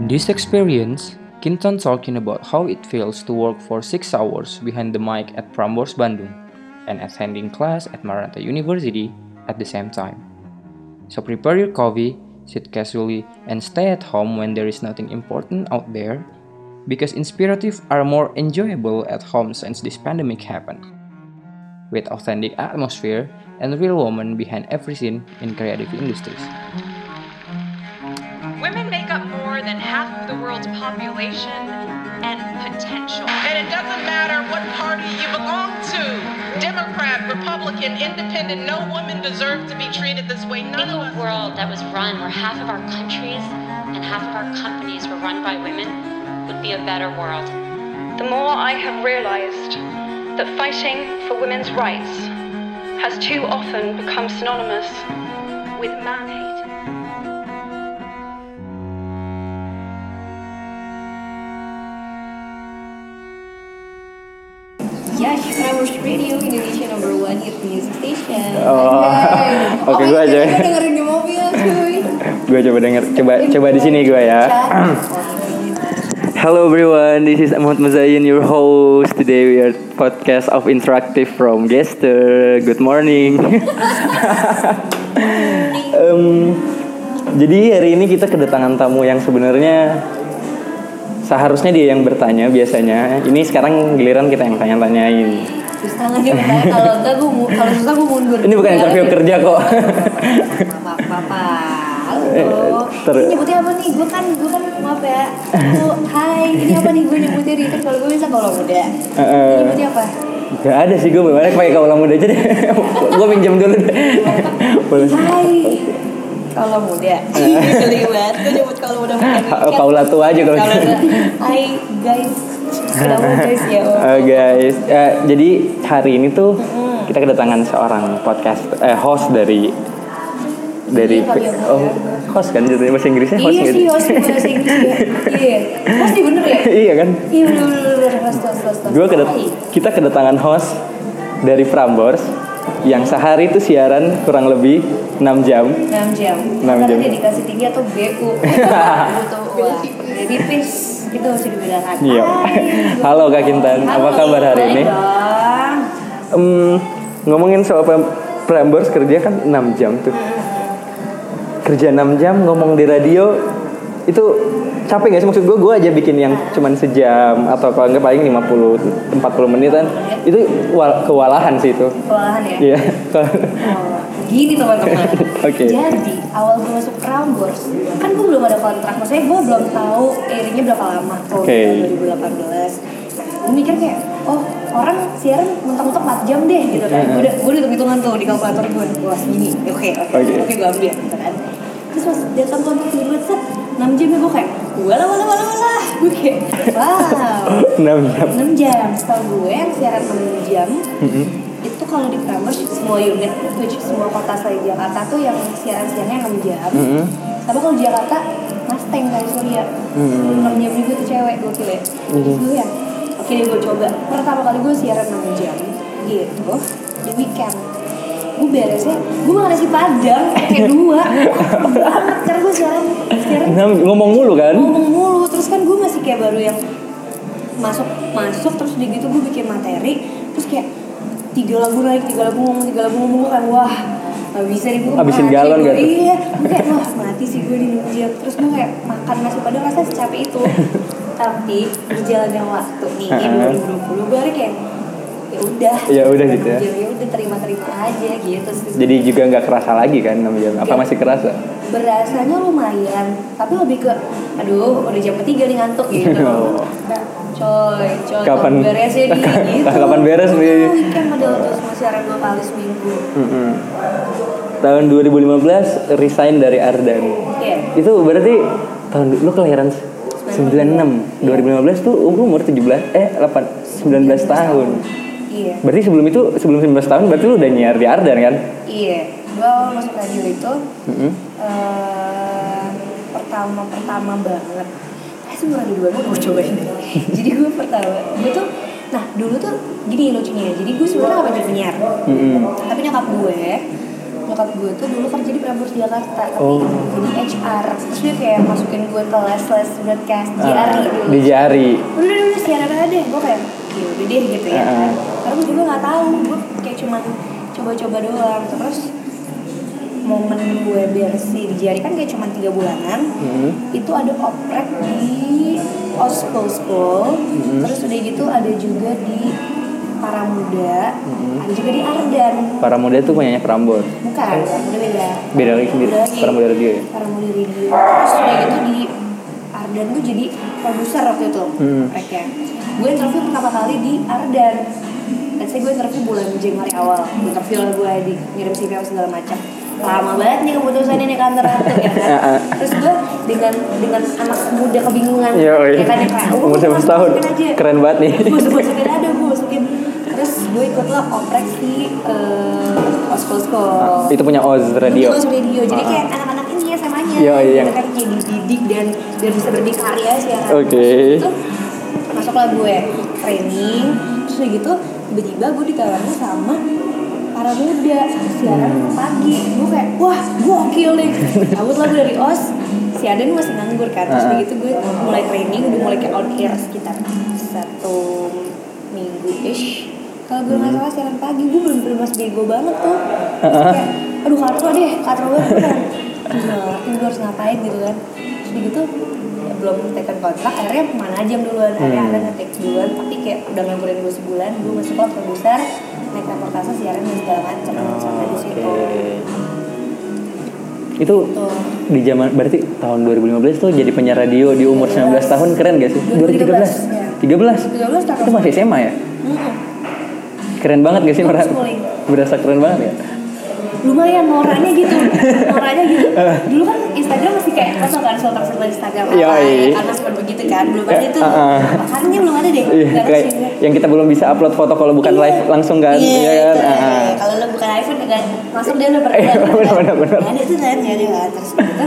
In this experience, Kintan talking about how it feels to work for 6 hours behind the mic at Prambors Bandung and attending class at Maranatha University at the same time. So prepare your coffee, sit casually, and stay at home when there is nothing important out there because inspirative are more enjoyable at home since this pandemic happened. With authentic atmosphere and real women behind every scene in creative industries. Women make up more than half of the world's population and potential. And it doesn't matter what party you belong to Democrat, Republican, Independent, no woman deserves to be treated this way. None Think of of us. a world that was run where half of our countries and half of our companies were run by women would be a better world. the more I have realized that fighting for women's rights has too often become synonymous with man hate. Ya, Prambors Radio Indonesia number one hit music station. Oh, Anjay. oke, Apaan gua sih? aja. Gua dengerin di mobil, cuy. Oh, iya, Gue coba denger, coba coba di sini gue ya. Hello everyone, this is Ahmad Muzayin, your host. Today we are podcast of interactive from Gester. Good morning. Em, Um, jadi hari ini kita kedatangan tamu yang sebenarnya seharusnya dia yang bertanya biasanya. Ini sekarang giliran kita yang tanya-tanyain. Terus tangan dia bertanya, kalau enggak gua mu- kalau susah gua mundur. Iya, Ini bukan interview kerja kok. Papa, halo. Eh, Ter- Ini nyebutnya apa nih? Gue kan, gue kan maaf ya. Gua- hai, ini apa nih gue nyebutnya di Twitter kalau gue bisa kalau muda. Heeh. Ini nyebutnya apa? Gak Eh, ada sih gue bagaimana pakai kaulah muda aja deh. gue pinjam dulu deh. Boleh. Hai, kalau muda. Geli banget, gue nyebut kalau muda bukan. Ha- Kaula Ah, tua aja kalau Kalau gitu. Ah. enggak, Hai guys, kenapa guys ya? Eh, guys, eh, jadi hari ini tuh kita kedatangan seorang podcast eh, host dari dari Iya, Fabio. oh, host kan jadinya bahasa Inggrisnya host Iya gitu. sih, host di bahasa Inggris ya. Iya, host di bener ya? iya kan? Iya bener bener bener, host host host. Gua kedat Iya. kita kedatangan host dari Prambors yang sehari itu siaran kurang lebih 6 jam. 6 jam. Enam Karena jam. dedikasi tinggi atau BU. Butuh uang. Jadi please, itu harus dibedakan. Iya. Hai. Halo Kak Kintan, apa Halo, kabar hari ini? baik dong. Em, ngomongin soal pram- Prambors kerja kan 6 jam tuh. Kerja 6 jam ngomong di radio itu capek gak sih maksud gue gue aja bikin yang cuman sejam atau kalau enggak paling 50 40 menitan itu wal- kewalahan sih itu Kewalahan ya? iya Oh, Gini teman-teman. Oke. Jadi awal gue masuk Prambors, kan gue belum ada kontrak. Maksudnya gue belum tahu airnya berapa lama. Oh, Oke. 2018. Gue mikir kayak, oh orang siaran mentok-mentok 4 jam deh gitu Iya. kan. Gue udah, gue udah hitung-hitungan tuh di kalkulator gue. Wah segini, oke oke Oke. oke gue ambil gitu kan. Terus pas datang kontrak di bulan set, 6 jamnya gue ya, kayak, walah walah walah walah. Gue kayak, wow. 6 jam 6 jam setahu gue yang siaran 6 jam itu kalau di Prambors semua unit which is semua kota selain Jakarta tuh yang siaran siarannya 6 jam Mm-mm. tapi kalau di Jakarta Mustang dari Surya Mm. 6 jam juga tuh cewek gokil ya Terus gue ya oke deh gue coba pertama kali gue siaran 6 jam gitu di weekend gue beresnya gue makan nasi padang kayak dua banget karena gue siaran siaran Enam- ngomong mulu kan ngomong mulu terus kan gue masih kayak baru yang masuk masuk terus udah gitu gue bikin materi terus kayak tiga lagu naik tiga lagu ngomong tiga lagu ngomong kan wah gak bisa nih gue Habisin gitu. mati galon gue. gak tuh? iya gue kayak wah mati sih gue di jam terus gue kayak makan masih pada rasa secapek itu tapi berjalannya waktu nih ini Heeh. 2020 gue kayak ya udah Ya udah gitu ya. ya udah terima terima aja gitu sih jadi juga nggak kerasa lagi kan 6 jam apa masih kerasa berasanya lumayan tapi lebih ke aduh udah jam ketiga nih ngantuk gitu Oh. Nah, coy coy Kapan- kapan beres ya di gitu kapan beres nih? Nah, weekend ada terus masih siaran dua kali seminggu Mm-mm. tahun 2015 resign dari Ardan Iya. Itu berarti tahun lu kelahiran 96. Iya. 2015 tuh umur umur 17 eh 8 19 tahun. iya Berarti sebelum itu sebelum 19 tahun berarti lu udah nyiar di Ardan kan? iya gua awal masuk radio itu Mm-mm. eh, pertama pertama banget eh semua radio dua gue cobain deh. jadi gue pertama gue tuh ya, nah dulu tuh gini lucunya jadi gue sebenarnya gak pengen penyiar Mm-mm. tapi nyokap gue bokap gue tuh dulu kerja di Prambors Jakarta Oh. jadi HR terus dia kayak masukin gue ke les-les broadcast gitu. JRI dulu Ah, di Jari. udah udah udah siaran aja deh gue kayak ya udah deh gitu ya Heeh. karena gue juga nggak tahu gue kayak cuma coba-coba doang terus momen gue bersih di jari kan kayak cuma tiga bulanan Hmm. itu ada oprek di ospol school Hmm. terus udah gitu ada juga di Paramuda Hmm. ada juga di Ardan Para muda tuh punyanya Prambor. bukan udah beda Beda lagi sendiri. Beda lagi. Para muda radio ya. Paramuda Radio terus udah gitu di Ardan gue jadi produser waktu itu Hmm. opreknya gue interview pertama kali di Ardan Let's say gue interview bulan Januari awal Gue interview lah gue di ngirim CV apa segala macam lama banget nih keputusannya nih kantor ratu ya kan terus gue dengan dengan anak muda kebingungan Iya, ya kan yang kayak, umur gue 11 tahun. masukin aja. Keren banget nih. gue masukin ada gue masukin terus gue ikutlah oprek di eh oskol Ah, oskol Itu punya Oz radio. Terus radio. Jadi Ah. kayak anak-anak ini ya samanya. Iya, iya. Gitu Kan kayak dididik dan biar bisa berdikari aja. Oke. Terus itu masuklah gue training. Terus udah gitu tiba-tiba gue ditawarin sama para muda siaran Hmm. pagi. Gue kayak wah gokil nih. Cabut lah gue dari os. Si Aden masih nganggur kan. Terus Ah. udah gitu gue mulai training, udah mulai kayak on air sekitar satu minggu ish kalau gue nggak salah siaran pagi gue belum belum masih bego banget tuh Terus kayak aduh katro deh katro banget gue kayak, "Aduh, nggak ngerti gue harus ngapain gitu kan terus begitu ya, belum tekan kontrak akhirnya kemana aja yang duluan akhirnya Hmm. ada ngetek duluan tapi kayak udah nganggurin gue sebulan gue masuk ke produser naik reportase siaran dan segala macam sampai Oh, di Oke. situ Gitu. Itu tuh di zaman berarti tahun 2015 tuh jadi penyiar radio di Iya, umur 19 tahun keren gak sih? 2013. 2013, tiga belas 13. Itu masih SMA ya? Hmm. Keren banget gak sih Itu merasa? schooling. Berasa keren banget ya? lumayan moranya gitu moranya gitu Eh. dulu kan Instagram masih kayak masuk kan filter filter Instagram apa Yoi. ya, karena sebelum begitu kan belum ada itu Eh, uh-uh. makanya belum ada deh Iya, Nggak kayak sih. yang kita belum bisa upload foto kalau bukan Iya. live langsung kan? iya Iya kan? itu, Ah, iya. ah. kalau lo bukan iPhone kan masuk dia udah pernah Iya, bener, bener, bener. ada itu kan ya dia kan terus gitu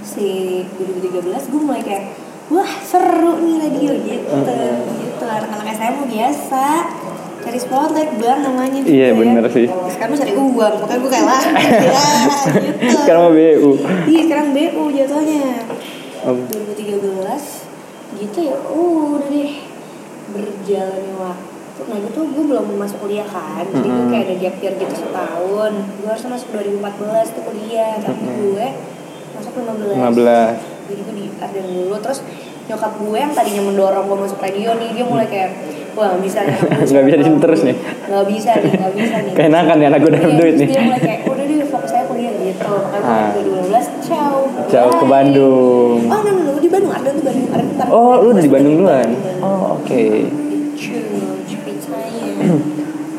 si 2013 gue mulai kayak wah seru nih radio Hmm. gitu gitu anak-anak SMA biasa cari spotlight bang namanya gitu Iya, ya. bener sih. sekarang gue cari uang makanya gue kayak lah ya, gitu Sekarang mah BU. Iya sekarang BU jatuhnya Om, 2013 gitu ya udah deh berjalannya waktu nah itu tuh gue belum masuk kuliah kan jadi gue Mm-mm. kayak ada gap year gitu setahun gue harus masuk 2014 tuh kuliah tapi gue masuk 15. 15 jadi gue di Arden dulu terus nyokap gue yang tadinya mendorong gue masuk radio nih dia mulai kayak wah nggak bisa nih Nggak bisa diem terus nih. nggak bisa nih nggak bisa nih Keenakan nih anak gue dapat Iya, duit terus nih. dia mulai kayak udah deh fokus saya kuliah gitu Ah. makanya gue 2012 ciao Jauh ke bye. Bandung. Oh, enggak, enggak, di Bandung ada tuh Bandung ada bentar. Oh, lu udah di Bandung duluan? Oh. Oh, oke.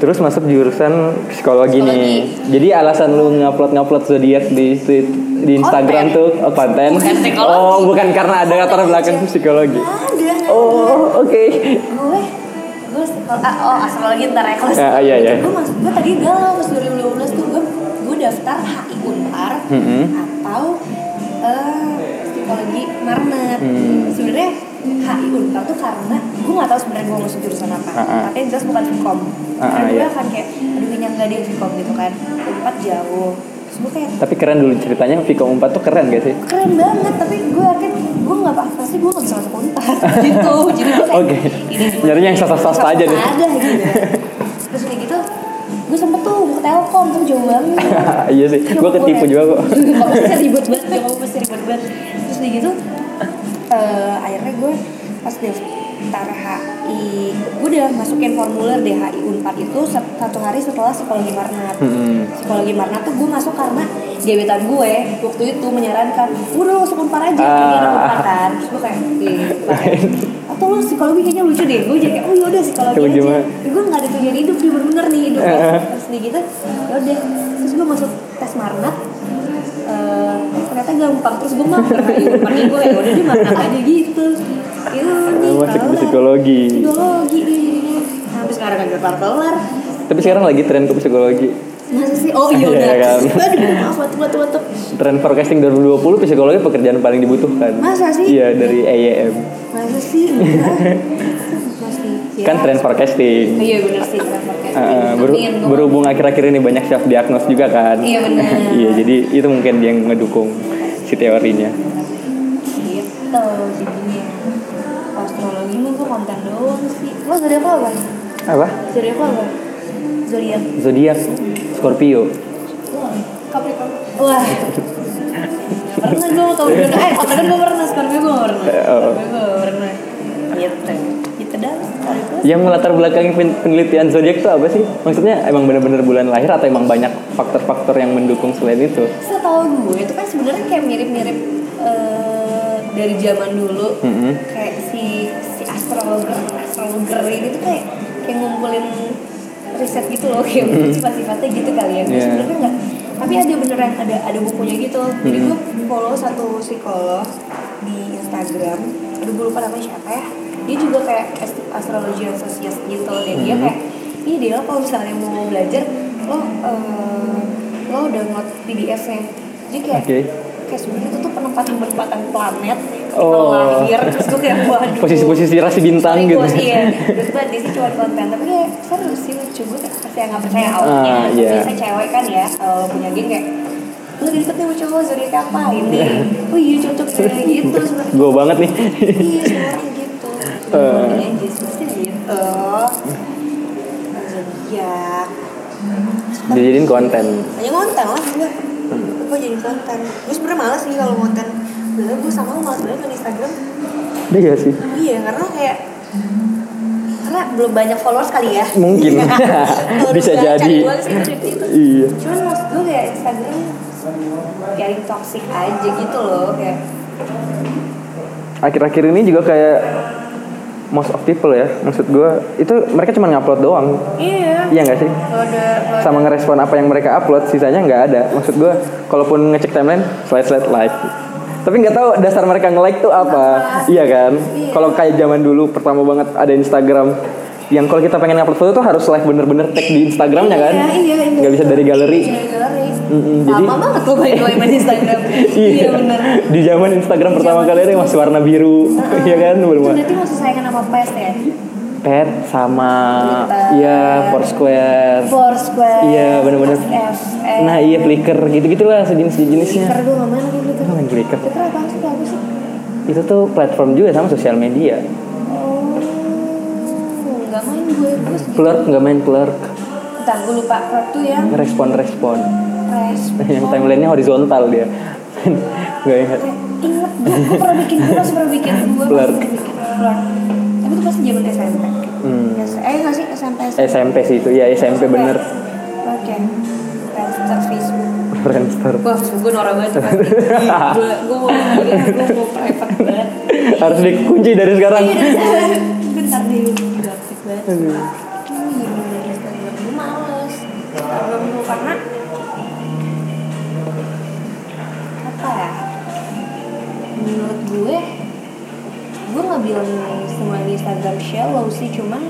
Terus masuk jurusan psikologi, nih. Jadi alasan lu ngupload ngupload zodiak di sit- di Instagram Konten. tuh oh, konten. Bukan psikologi. oh, bukan karena ada latar belakang psikologi. Ada. Oh, oke. Gue gue sekolah ah, oh astrologi ntar ya kelas. Ah, iya, iya. Gue masuk gue tadi galau pas 2012 tuh gue gue daftar HI Unpar Mm-mm. atau eh psikologi Marnet. Hmm. Sebenarnya HI Unpar tuh karena gue nggak tahu sebenarnya gue masuk jurusan apa. Ah, ah. Tapi yang jelas bukan Vkom. Ah, Karena ah, gue iya. akan kayak aduh ini enggak deh Vkom gitu kan. Unpar jauh. Terus gue kayak Tapi keren dulu ceritanya Viko 4 tuh keren gak sih? keren banget tapi gue yakin gue nggak apa pasti gue nggak bisa masuk unpar gitu jadi gue kayak Oke. ini dulu. Nyarinya yang sasta-sasta aja deh. Sasta-sasta aja gitu terus udah gitu gue sempet tuh mau ke telkom tuh jauh banget ya. iya sih. Gua ketipu juga kok. Kok pasti ribet banget jauh pasti ribet banget terus udah gitu eh, akhirnya gue pas daftar HI gue udah masukin formulir deh HI Unpad itu set- satu hari setelah psikologi Marnat Mm-mm. psikologi Marna tuh gue masuk karena gebetan gue waktu itu menyarankan udah lo masuk unpar aja Ah. ah. unpar kan terus gue kayak "Ih, Unpar ya." atau lo psikologi kayaknya lucu deh gue jadi kayak oh yaudah psikologi Coba aja gimana? gue nggak ada tujuan hidup nih bener-bener nih hidup Eh. terus nih gitu yaudah terus gue masuk tes Marnat Eh, ternyata gampang terus gue mager kayak unpar nih gue kayak ya. udah di Marnat aja gitu itu nih Masuk di kelar. psikologi. psikologi nih jadinya Nah, sampai sekarang kan kelar-kelar Tapi sekarang lagi tren ke psikologi. Masa sih? Oh iya Iya, udah. kan? Aduh, maaf, mantep, mantep, mantep. Tren forecasting 2020 psikologi pekerjaan paling dibutuhkan. Iya, Masa sih? E Iya, dari EYM. Masa sih? Enggak. Masa sih? Ya. kan trend forecasting. Oh iya bener sih trend forecasting. Eh, beru- Amin, gua- berhubung akhir-akhir ini banyak self diagnos juga kan. Iya, benar. Iya, jadi itu mungkin yang ngedukung si teorinya. gitu jadinya. Astrologi mah gua konten doang sih. Lo zodiak lo apa? Apa? Zodiak lo apa? Zodiak. Zodiak Scorpio. Capricorn. Wah. Pernah gue mau Capricorn. Eh, kadang gue pernah, Scorpio gue gak pernah. Eh, oh. Scorpio gue gak pernah. Gitu. Gitu dah. kalau gue. Yang melatar belakangi pen- penelitian zodiak itu apa sih? Maksudnya emang bener-bener bulan lahir atau emang banyak faktor-faktor yang mendukung selain itu? Setahu gue itu kan sebenarnya kayak mirip-mirip eh, dari zaman dulu. Mm-mm. Kayak si si astrologer, astrologer ini tuh kayak kayak ngumpulin riset gitu loh kayak sifat-sifatnya gitu kali ya. Gue Iya. sebenarnya enggak. Tapi ada beneran ada ada bukunya gitu. Jadi Hmm. gue follow satu psikolog di Instagram. Aduh gue lupa namanya siapa ya. Dia juga kayak ast- astrologi antusias gitu dan dia Hmm. kayak ini dia kalau misalnya mau belajar lo eh, lo download PDF-nya. Jadi kayak Oke. kayak sebenarnya itu tuh penempatan-penempatan planet Oh. oh. lahir terus gue kayak waduh Posisi-posisi rasi bintang Sorry, gitu. gua- iya terus banget dia sih cuma konten tapi kayak seru sih lucu gue kayak percaya nggak percaya awalnya Ah, iya. biasanya cewek kan ya kalau punya geng kayak lu dilihat nih mau cowok zodiak apa ini oh iya cocok kayak gitu sebenarnya Gue banget nih. iya semua orang gitu Eh. Ini aja sebenarnya gitu zodiak Dijadiin konten. Hmm. hanya konten lah gue gue jadi konten gue sebenernya malas sih kalau konten Bener gue sama lo malas banget main Instagram Iya sih. Iya karena kayak karena belum banyak followers kali ya. Mungkin. Baru Bisa baca jadi. doang sih triknya itu. Iya. Cuman maksud gue kayak Instagram kayak yang toxic aja gitu loh kayak. akhir-akhir ini juga kayak most of people ya maksud gue itu mereka cuma ngupload doang Iya. iya nggak sih Kalau ada kalau ada- sama ngerespon apa yang mereka upload sisanya nggak ada maksud gue kalaupun ngecek timeline slide slide like tapi nggak tahu dasar mereka nge-like tuh apa iya kan kalau kayak zaman dulu pertama banget ada Instagram yang kalau kita pengen upload foto tuh harus live bener-bener tag di Instagramnya kan Iya, iya, iya. nggak bisa dari galeri Iya, galeri. Mm-mm, jadi- Lama banget lo main main Instagram. Iya benar. di zaman Instagram pertama Zaman kali ini itu. masih warna biru iya kan Itu belum berarti masih saingan sama PES ya? pet sama Twitter. ya Foursquare Foursquare. iya benar-benar SFM. nah iya Flickr gitu gitulah sejenis Flickr sejenisnya gue nggak main gitu. lagi Flickr. Nggak main Flickr. Flickr apa sih? Kayak Apa sih? itu tuh platform juga sama sosial media Oh, nggak main gue gue sedih. clerk nggak main clerk Bentar, gue lupa ya. Clerk tuh yang respon respon respon yang timelinenya horizontal dia nggak ingat Eh, Ingat, gue, gue pernah bikin, gue masih pernah bikin Gue Clerk. masih bikin Clerk Tapi itu pasti zaman SMP Hmm. Ya, Eh, nggak sih SMP SMP sih itu ya SMP bener Oke Friendster Facebook Friendster Wah, Facebook gue norak banget pasti. Gue gue mau bikin, gue mau private banget harus dikunci dari sekarang Iya. Bentar deh, gue aktif banget Oh iya, bener, Instagram. Gue males Instagram gue karena apa ya menurut gue gue nggak bilang semua di Instagram shallow sih cuman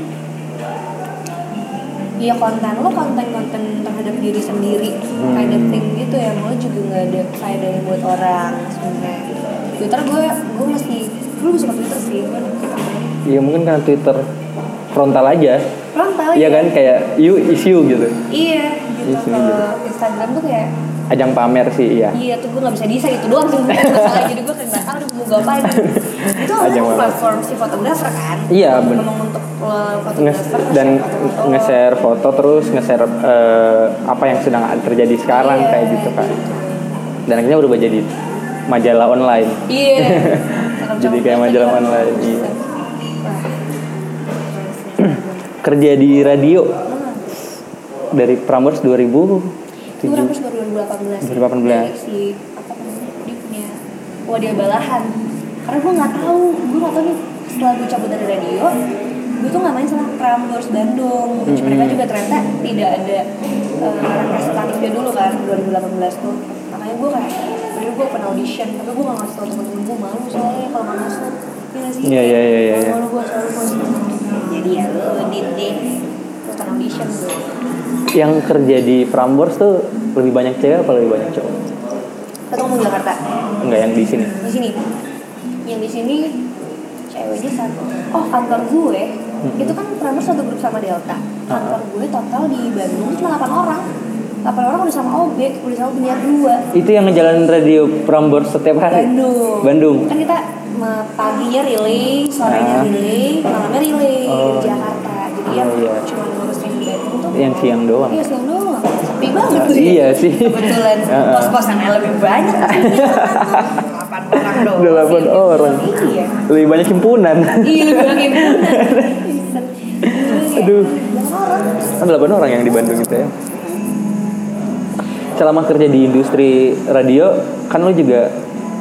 ya konten lo konten-konten terhadap diri sendiri kind of thing gitu ya lo juga nggak ada faedahnya buat orang sebenarnya Twitter gue gue masih gue lebih suka Twitter sih gue ya mungkin karena Twitter frontal aja frontal iya kan kayak you is you gitu iya gitu Iya sih, kalau Instagram tuh kayak ajang pamer sih iya Iya tuh gue gak bisa desain itu doang sih masalah jadi gue kayak gak tau mau ngapain itu Aja awalnya malas. platform si fotografer kan Iya, bener. benar. Ngomong untuk uh, Nge- fotografer gitu. dan foto-foto. nge-share foto terus nge-share eh, apa yang sedang terjadi sekarang Iya, kayak gitu kan dan akhirnya berubah jadi majalah online Iya Jadi kayak majalah gitu, online, iya. kerja di radio dari Prambors 2000 Itu berapa sih baru 2018 2018. Dari Si apa namanya Dia punya Wadah balahan Karena gue gak tahu Gue gak tahu nih Setelah gue cabut dari radio Gue tuh gak main sama Prambors Bandung Which mereka juga ternyata Tidak ada eh, Representatifnya dulu kan 2018 tuh Makanya gue kayak Dulu gue pernah audition Tapi gue gak ngasih tau temen-temen gue Malu soalnya kalau gak masuk Iya gak sih Iya, iya, iya, iya, iya. Malu gue selalu gue Jadi ya lo Did deh Terus kan audition gue yang kerja di Prambors tuh lebih banyak cewek apa lebih banyak cowok Atau ngomong Jakarta enggak yang di sini di sini yang di sini ceweknya satu oh kantor gue itu kan Prambors satu grup sama Ah. Delta kantor gue total di Bandung cuma 8 orang 8 orang udah sama OB udah sama penyiar dua Itu yang ngejalanin radio Prambors setiap hari. Bandung Bandung. kan kita me- paginya relay Ah. sorenya relay malamnya relay Oh. di Jakarta jadi Oh, yang iya. cuma ngurusin di Bandung tuh Yang siang doang. iya siang doang sepi banget tuh ya. Iya sih. kebetulan Ah, ah. pos-posannya lebih banyak delapan orang doang Udah delapan sih. orang. iya Lebih banyak himpunan. Iya, lu bilang ibu. Aduh. Orang. Kan delapan orang yang di Bandung gitu ya. Selama kerja di industri radio, kan lu juga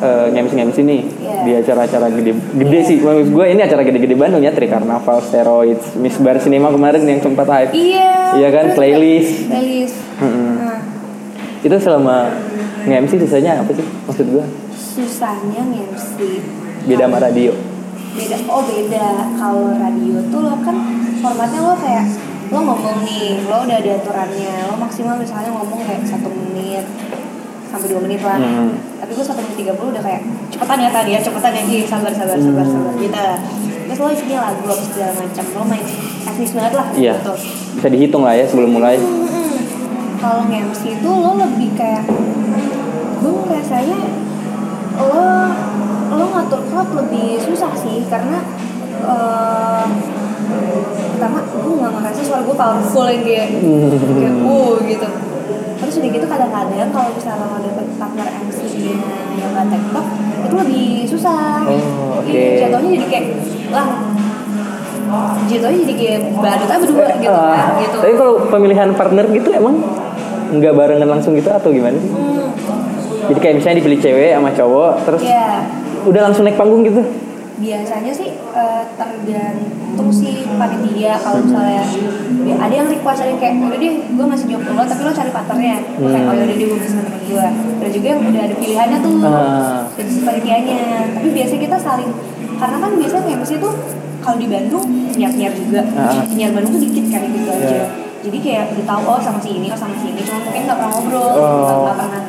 eh, ngemis-ngemis ini Iya. di acara-acara gede gede sih maksud gue ini acara gede-gede Bandung ya Trikarnaval, Steroids, Miss Bar Cinema kemarin yang sempat hype Iya. Iya kan, Terus playlist. kayak Playlist. Mm-mm. Nah, itu selama nge-MC sisanya apa sih maksud gue susahnya nge-MC. beda sama radio Beda. Oh, beda. Kalau radio tuh lo kan formatnya lo kayak lo ngomong nih, lo udah ada aturannya. Lo maksimal misalnya ngomong kayak satu menit sampai dua menit lah. Hmm. Tapi gue satu menit tiga puluh udah kayak cepetan ya tadi ya, cepetan ya, Ih, sabar sabar sabar sabar Mm. gitu. Terus lo isinya lagu apa segala macam, lo main teknis banget lah Iya. gitu. bisa dihitung lah ya sebelum mulai kalau nge-MC itu lo lebih kayak gue ngerasanya lo lo ngatur crowd lebih susah sih karena eh, pertama gue nggak ngerasa suara gue powerful yang kayak kayak Hmm. uh gitu terus udah gitu kadang-kadang kalau misalnya lo dapet partner MC -nya yang nggak tektok itu lebih susah Oh, oke. Iya, jatuhnya jadi kayak lah jatuhnya jadi kayak badut aja berdua gitu kan Ah, gitu tapi kalau pemilihan partner gitu emang nggak barengan langsung gitu atau gimana sih? Hmm, jadi kayak misalnya dipilih cewek sama cowok terus iya. udah langsung naik panggung gitu biasanya sih eh, tergantung sih panitia kalau misalnya ya, ada yang request ada yang kayak udah deh gue masih job lo tapi lo cari partnernya Gua kayak oh yaudah deh gue bisa temen gue ada juga yang udah ada pilihannya tuh Ah. dari sisi panitianya tapi biasanya kita saling karena kan biasanya kayak mesti tuh kalau di Bandung niat-niat juga Ah. niat Bandung tuh dikit kan gitu aja Iya. jadi kayak udah tahu oh sama si ini oh sama si ini cuma mungkin nggak pernah ngobrol Oh. nggak nggak pernah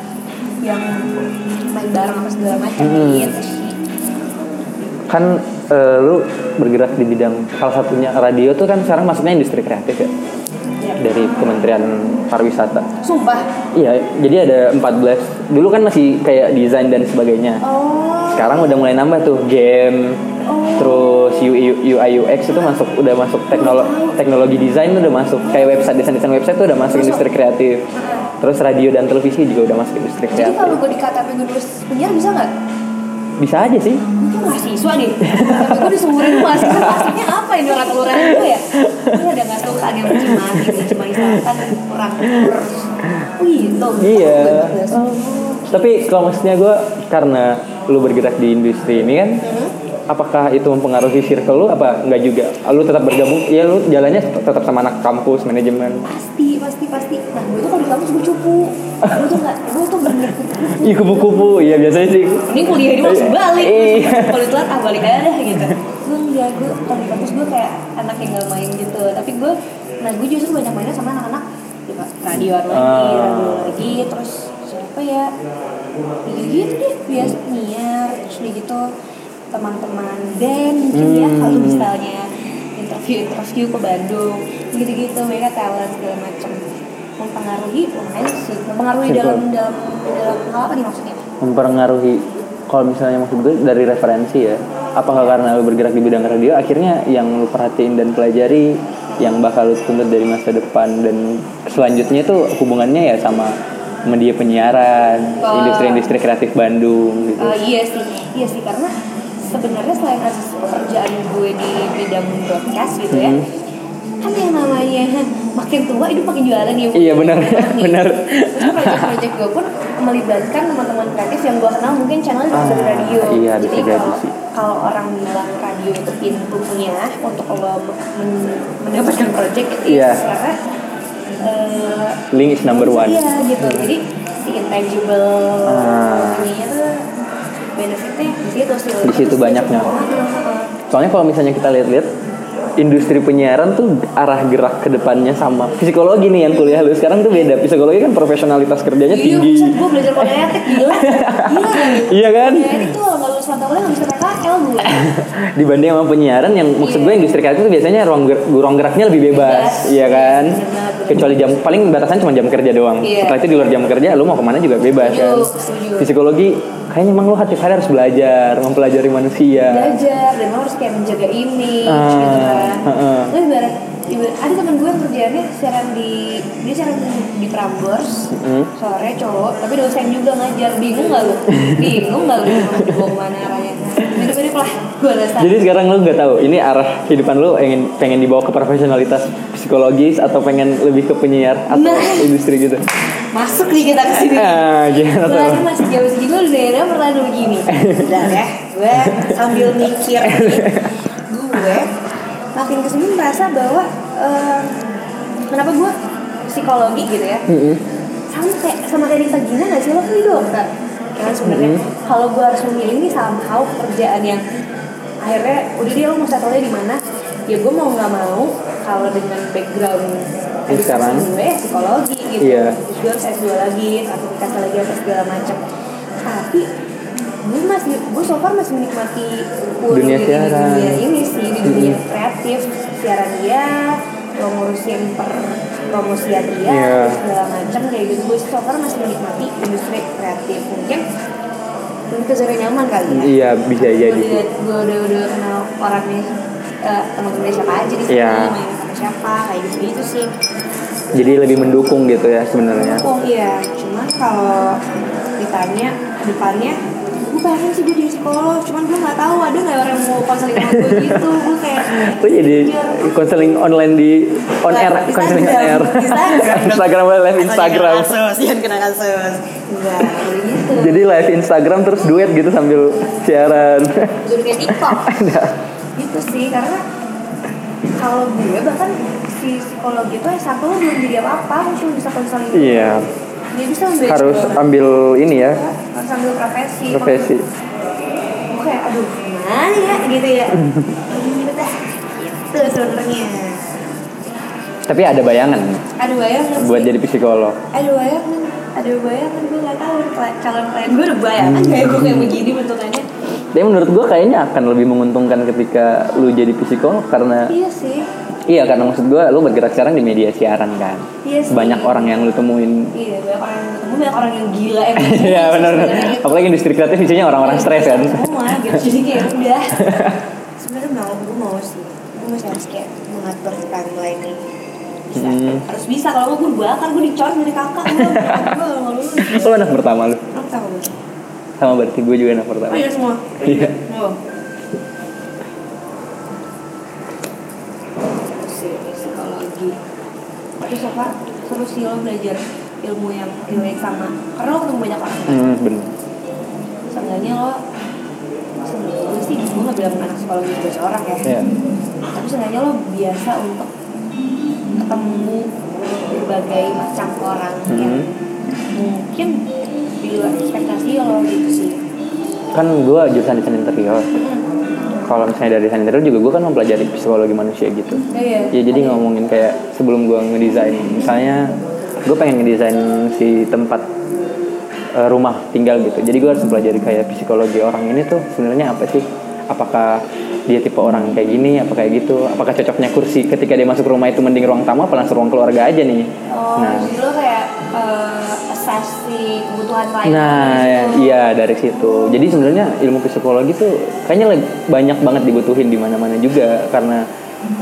yang main bareng apa segala macam Hmm. gitu sih. kan eh, lu bergerak di bidang salah satunya radio tuh kan sekarang masuknya industri kreatif ya Ya. dari Kementerian Pariwisata Sumpah. iya jadi ada 14 dulu kan masih kayak desain dan sebagainya Oh. sekarang udah mulai nambah tuh game terus UI UX itu masuk udah masuk teknologi teknologi desain tuh udah masuk kayak website desain desain website tuh udah masuk Masuk. industri kreatif Heeh. terus radio dan televisi juga udah masuk industri Jadi kalau kreatif gue dikatain gue nulis penyiar bisa nggak? bisa aja sih Gue tuh mahasiswa deh. Tapi gue disuruhin mahasiswa maksudnya apa ini orang kelurahan gue ya? Gue ada nggak suka dia benci mati, benci mati selatan, kurang kurs. Gitu. Iya. Bagus. Oh. tapi kalau maksudnya gue karena lu bergerak di industri ini kan apakah itu mempengaruhi circle lu apa nggak juga lu tetap bergabung ya lu jalannya tetap sama anak kampus manajemen Pasti, pasti, pasti. Nah, gue tuh kalau di kampus gue cupu. Gue tuh nggak, gue tuh bener. iya kupu-kupu iya biasanya sih Ini kuliah ini langsung balik. Iya. Kalau telat ah balik aja dah gitu. Gue enggak, gue kalau di kampus gue kayak anak yang nggak main gitu. Tapi gue, nah gue justru banyak mainnya sama anak-anak ya, radioan lagi, Ah. radio lagi, terus siapa ya? Ya gitu deh, biasa niar, terus udah gitu teman-teman band mungkin ya Hmm. kalau misalnya interview interview ke Bandung gitu-gitu mereka talent segala macam mempengaruhi lumayan sih mempengaruhi Circle. dalam dalam dalam hal apa nih maksudnya mempengaruhi kalau misalnya maksud gue dari referensi ya apakah karena lu bergerak di bidang radio akhirnya yang lu perhatiin dan pelajari yang bakal lu tuntut dari masa depan dan selanjutnya itu hubungannya ya sama media penyiaran Wah. industri-industri kreatif Bandung gitu Eh, iya sih, iya sih karena sebenarnya selain asas pekerjaan gue di bidang broadcast gitu ya, kan yang namanya makin tua hidup makin jualan ya. Bu. Hmm. Iya, benar, Nih. benar. Terus Proyek-proyek gue pun melibatkan teman-teman kreatif yang gue kenal mungkin channel di Ah, radio. iya, bisa Jadi jadi kalau sih. kalau orang bilang radio itu pintunya untuk lo men- mendapatkan proyek itu Iya. ya karena eh, link is number one Iya gitu. Jadi si intangible Ah. ininya tuh benefitnya di situ sih. Di situ banyaknya. soalnya kalau misalnya kita lihat-lihat industri penyiaran tuh arah gerak ke depannya sama psikologi nih yang kuliah lu sekarang tuh beda psikologi kan profesionalitas kerjanya Iya, tinggi gue belajar kode etik gila. Gila. Iya kan? iya. Kan? Kode etik tuh kalau nggak lulus mata kuliah nggak bisa PKL gue. dibanding sama penyiaran yang maksud gue industri kreatif itu biasanya ruang, ger- ruang geraknya lebih bebas, Iya. Bebas. iya kan? Iya, benar. Kecuali jam paling batasan cuma jam kerja doang. Iya. Setelah itu di luar jam kerja lu mau kemana juga bebas Setuju, kan? setuju. Di psikologi kayaknya emang lu hati harus belajar, mempelajari manusia. belajar dan lo harus kayak menjaga image Iya. Ah, gitu kan heeh. Lo ibarat, ibarat- ada temen gue yang kerjaannya siaran di dia siaran di Prambors Mm-hmm. sore cowok tapi dosen juga ngajar bingung gak lo bingung gak lo mau kemana arahnya mirip-mirip lah gue rasa Jadi sekarang lu nggak tahu ini arah kehidupan lu pengen pengen dibawa ke profesionalitas psikologis atau pengen lebih ke penyiar atau Nah. industri gitu. masuk nih kita kesini Ah, gimana tuh? Gue masih jauh segitu udah ada pertanyaan begini Udah ya, gue sambil mikir nih, Gue makin kesini merasa bahwa eh, Kenapa gue psikologi gitu ya Sama kayak sama kayak Nisa Gina gak sih lo kan dokter Ya kan sebenarnya kalau gue harus memilih ini somehow pekerjaan yang akhirnya udah dia lo mau settle di mana ya gue mau nggak mau kalau dengan background Yang sekarang? gue ya psikologi gitu Iya. terus gue harus S2 lagi aku dikasih lagi apa segala macam tapi gue masih gue so far masih menikmati kuliah Dunia di siaran. dunia ini sih di dunia kreatif siaran dia lo ngurusin per promosian dia Iya. segala macam kayak gitu gue so far masih menikmati industri kreatif mungkin mungkin ke zona nyaman kali ya Iya bisa jadi. gue udah, gue udah udah kenal orangnya eh, teman-teman siapa aja di sini Iya. main sama siapa kayak gitu gitu sih Jadi lebih mendukung gitu ya sebenarnya. Oh iya, cuman kalau ditanya depannya gue pengen sih gue jadi psikolog, cuman gue nggak tahu ada nggak orang yang mau konseling sama gue gitu, gue kayak Lu jadi Biar- konseling online di on air Instagram, konseling on air. Instagram. Instagram live Instagram. enggak kayak gitu, Jadi live Instagram terus duet gitu sambil siaran. jadi kayak TikTok gitu sih karena kalau gue bahkan si psikolog itu S1 lo belum jadi apa-apa, lo cuma bisa konseling Iya, Dia bisa membedakan harus ambil ini ya harus ambil kan, profesi profesi. Gue kayak aduh gimana ya gitu ya Ribet dah. gitu sebenarnya Tapi ada bayangan aduh bayangan buat sih. jadi psikolog. ada bayangan ada bayangan gue nggak tahu kla- calon klien gue udah bayangan kayak gue kayak begini bentukannya Tapi menurut gue kayaknya akan lebih menguntungkan ketika lu jadi psikolog karena iya sih iya karena maksud gue lu bergerak sekarang di media siaran kan. Iya sih. Banyak orang yang lu temuin. iya banyak orang yang ketemu banyak orang yang gila yang Iya benar. Sebenarnya gitu. Apalagi industri kreatif isinya orang-orang stres kan. semua gitu jadi kayak udah sebenarnya mau gue mau sih gue masih harus kayak mengatur timeline nih bisa Hmm. harus bisa kalau nggak gue bakar gue dicoret dari kakak gue gue nggak lulus Lu anak pertama lu. Lo tahu gue Sama berarti gue juga anak pertama. Oh iya semua. Iya. Wow. psikologi. Tapi so far seru sih lo belajar ilmu yang ilmu yang sama. Karena lo ketemu banyak orang. kan? Hmm, bener. Seenggaknya lo seenggaknya gue sih gue nggak bilang anak psikologi itu seorang ya. Iya. Tapi seenggaknya lo biasa untuk ketemu berbagai macam orang yang Hmm. mungkin di luar ekspektasi lo gitu sih. Kan gue jurusan desain interior. Kalau misalnya dari desain interior juga gue kan mempelajari psikologi manusia gitu. Iya. Ya jadi ngomongin kayak sebelum gua ngedesain, misalnya gue pengen ngedesain si tempat eh, rumah tinggal gitu. Jadi gue harus mempelajari kayak psikologi orang ini tuh sebenarnya apa sih? Apakah dia tipe orang kayak gini, apa kayak gitu? Apakah cocoknya kursi ketika dia masuk rumah itu mending ruang tamu apa langsung ruang keluarga aja nih? Oh, nah, jadi lo kayak eh assess si kebutuhan lain. gitu. nah iya dari situ. Jadi sebenarnya ilmu psikologi tuh kayaknya le- banyak banget dibutuhin di mana-mana juga karena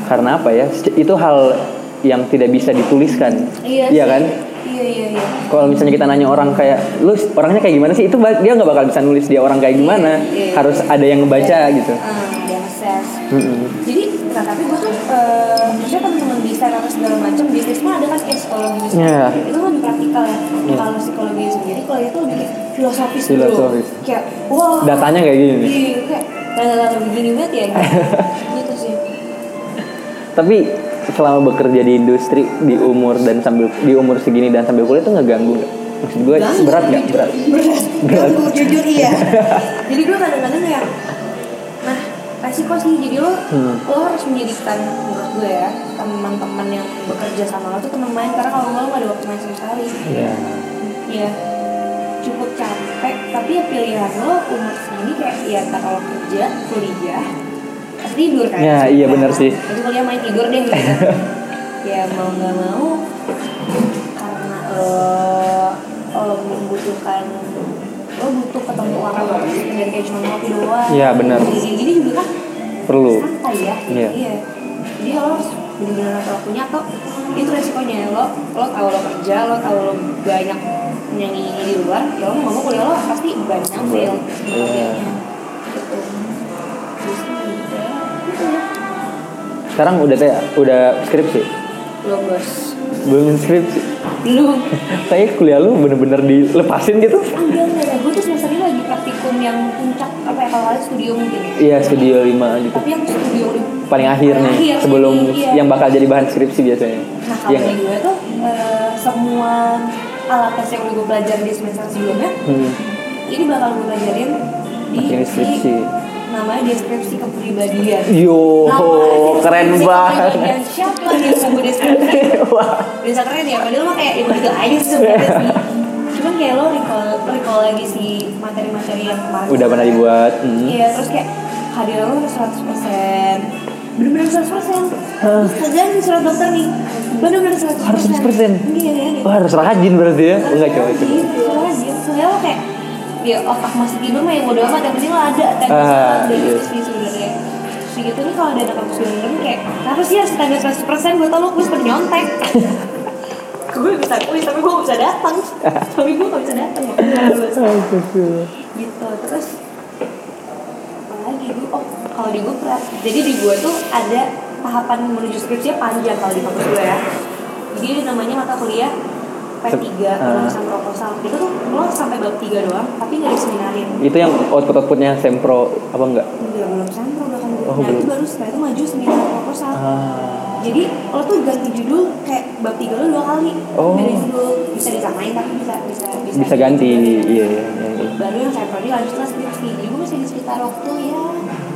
karena apa ya? se- Itu hal yang tidak bisa dituliskan. Iya, sih. kan? Iya iya iya. Kalau misalnya kita nanya orang kayak lu orangnya kayak gimana sih? Itu ba- dia nggak bakal bisa nulis dia orang kayak gimana. Iya, iya. Harus ada yang ngebaca gitu. Eh, di assess. Mm-mm. Jadi, nah, tapi gue tuh, eh, maksudnya teman-teman desain apa segala macam, bisnis mah ada kan kayak psikologi bisnis. Iya. Itu lebih praktikal ya. Kalau psikologi sendiri, kalau itu lebih kayak filosofis, dulu. Filosofis. Kayak, wow. Datanya kayak gini. nih. Iya, kayak, "Lah, begini banget ya. Gitu, gitu sih. Tapi selama bekerja di industri di umur dan sambil di umur segini dan sambil kuliah tuh ngeganggu nggak? Maksud gue Ganggu, berat nggak? jujur. Berat. berat Berat. Ganggu, jujur iya jadi gue kadang-kadang ya nah resiko sih jadi lo Hmm. lo harus menjadikan menurut gue ya teman-teman yang bekerja sama lo tuh teman main karena kalau nggak, lo gak ada waktu main sama sekali Iya. ya cukup capek tapi ya pilihan lo umur segini kayak ya ntar kalau kerja kuliah pasti tidur kan Ya, iya, benar sih. itu kuliah main tidur deh gitu. ya mau nggak mau karena eh, lo membutuhkan lo butuh ketemu orang baru dan kayak cuma ngopi doang Iya, benar. Kayak gini juga kan perlu santai ya Iya. iya jadi lo harus benar-benar atur waktunya atau itu resikonya lo lo tahu lo kerja lo tahu lo banyak nyanyi di luar ya lo mau ngomong kuliah lo pasti banyak fail Iya. gitu Terus ya, gitu ya. sekarang udah teh udah skripsi belum bos belum skripsi belum saya kuliah lu bener-bener dilepasin gitu enggak enggak enggak. gue tuh semester ini lagi praktikum yang puncak apa ya kalau kalian studio mungkin ya. iya studio 5 gitu tapi yang studio di- paling akhir nih Akhir, sebelum iya. yang bakal jadi bahan skripsi biasanya Iya Nah kalau yang dari gue tuh eh, semua alat tes yang udah gue pelajari di semester sebelumnya Hmm. ini bakal gue pelajarin di Materi skripsi. namanya deskripsi kepribadian. yo Nama oh, keren deskripsi banget kepribadian. Siapa yang mau gue deskripsi? Wah. Bisa keren ya, padahal mah kayak itu aja sih sebenarnya sih. Cuman kayak lo recall, recall lagi si materi-materi yang kemarin. udah pernah dibuat hmm. Iya, terus kayak hadiah lo 100 persen. Bener-bener 100 persen. Terus kerjaan di surat dokter nih. Bener-bener 100 Harus 100%? Iya, iya, iya. Wah, harus rajin berarti ya enggak coba itu Iya, rajin. Soalnya lo kayak ya otak masih tidur mah yang bodo amat yang penting lo ada tanda Ah, dari iya. sisi sebenarnya. Terus gitu nih kalau ada anak kampus dengerin kayak harus ya standar 100 persen gue tau lo gue seperti nyontek. gue bisa kuis tapi gue gak bisa datang. Tapi gue gak bisa datang makanya gak lulus. gitu terus apalagi gue oh kalau di gue pra- jadi di gue tuh ada tahapan menuju skripsinya panjang kalau di kampus gue ya jadi ada namanya mata kuliah P3 Ah. penulisan proposal itu tuh lo sampai bab 3 doang tapi nggak ya. diseminarin itu yang output outputnya sempro apa enggak Enggak, belum sempro bahkan Oh, nah itu belum. baru setelah itu maju seminar proposal ah jadi lo tuh ganti judul kayak bab 3 lo dua kali Oh. dari judul bisa disamain tapi bisa bisa bisa, bisa ganti iya iya, iya, iya. baru yang saya prodi lanjutlah skripsi jadi gue masih di sekitar waktu ya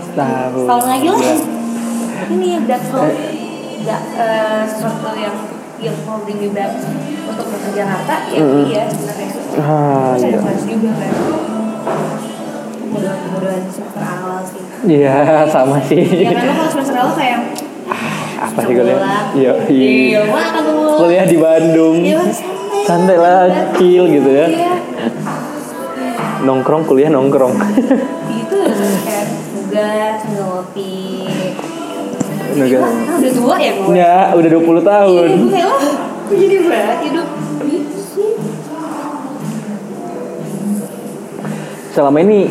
Setahun. setahun lagi lah Iya. Eh. ini ya, that's all that, uh, sesuatu yang yang holding me back untuk ke Jakarta ya iya sebenarnya Ah, Terus ada iya. kelas juga kan kemudahan-kemudahan semester awal sih iya sama sih ya kan lo kalau semester awal kayak apa sih kuliah iya iya iya lo akan ngulang. kuliah di Bandung Iya, santai. santai lah chill gitu ya Iya. nongkrong kuliah nongkrong gitu kayak tugas ngopi Nugas. Wah, udah tua ya gue ya udah 20 tahun Iya, gue kayak wah, gue jadi berat hidup gitu sih. selama ini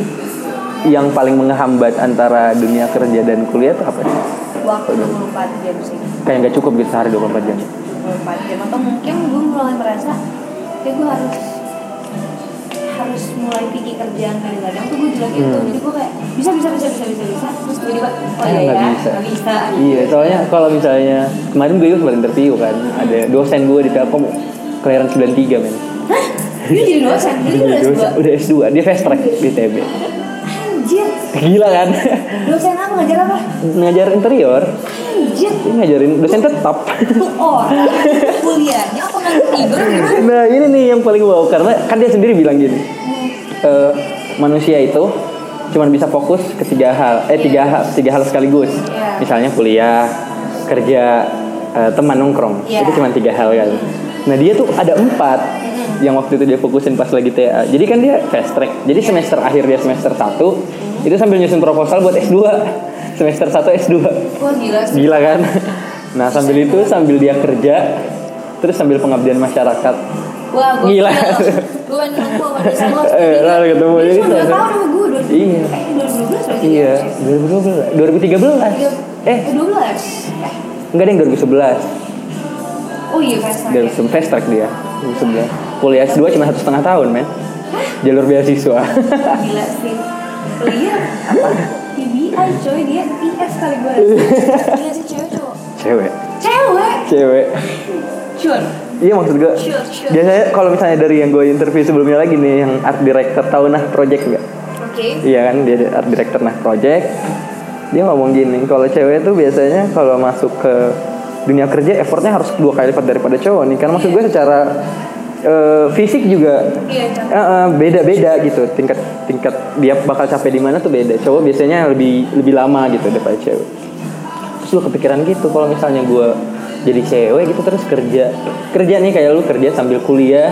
yang paling menghambat antara dunia kerja dan kuliah itu apa sih? Waktu 24 jam sih, Kayak nggak cukup gitu sehari 24 jam. 24 jam atau mungkin gue mulai merasa kayak gue harus harus mulai pikir kerjaan kadang-kadang tuh gue jelek gitu jadi gue kayak bisa bisa bisa bisa bisa bisa terus tiba-tiba oh Eh, iya ya nggak nggak bisa. bisa, Iya, soalnya kalau misalnya kemarin gue juga sempat interview kan, ada dosen gue di Telkom kelahiran 93 men. hah dia jadi dosen jadi Udah, udah dosen, dua udah S2, dia fast track di TB. anjir Gila kan? dosen apa ngajar apa ngajar interior, anjir dia ngajarin dosen tetap. tuh orang kuliahnya apa nggak tidur gimana nah ini nih yang paling wow karena kan dia sendiri bilang gini, eh, manusia itu cuman bisa fokus ke tiga hal, eh tiga hal, tiga hal sekaligus. Iya. Misalnya kuliah, kerja, eh, teman nongkrong, Iya. itu cuman tiga hal kan. Nah dia tuh ada empat yang waktu itu dia fokusin pas lagi TA. Jadi kan dia fast track. Jadi semester akhir dia semester 1 itu sambil nyusun proposal buat S2. Semester 1 S2. wah gila sih Gila kan? Nah, sambil itu sambil dia kerja terus sambil pengabdian masyarakat. Wah, gue Gila. Gue nunggu sama dosen lo Eh, lalu ketemu Dia jadi cuma dua dosen. tahun sama gue. dua- Iya. Eh, 2012 berarti Iya, ya? 2012. 2013. Eh, Eh, 12. Eh, enggak deh 2011. Oh iya, fast track. Dari ya. sem- fast track dia. 2011. Kuliah S2 cuma satu setengah tahun, men. Jalur beasiswa. Gila sih. Kuliah apa? TBI coy, dia IS kali gue. Gila sih cewek cowok. Cewek. Cewek. Cewek. Cur. Iya maksud gue. Sure, sure. Biasanya kalau misalnya dari yang gue interview sebelumnya lagi nih yang art director tahu nah project nggak? Oke. Iya kan dia ada art director nah project. Dia ngomong gini, kalau cewek tuh biasanya kalau masuk ke dunia kerja effortnya harus dua kali lipat daripada cowok nih. Karena maksud gue secara eh, fisik juga Iya, capek. Eh, eh, beda-beda gitu tingkat tingkat dia bakal capek di mana tuh beda cowok biasanya lebih lebih lama gitu daripada cewek terus lu kepikiran gitu kalau misalnya gue jadi cewek gitu terus kerja kerja nih kayak lu kerja sambil kuliah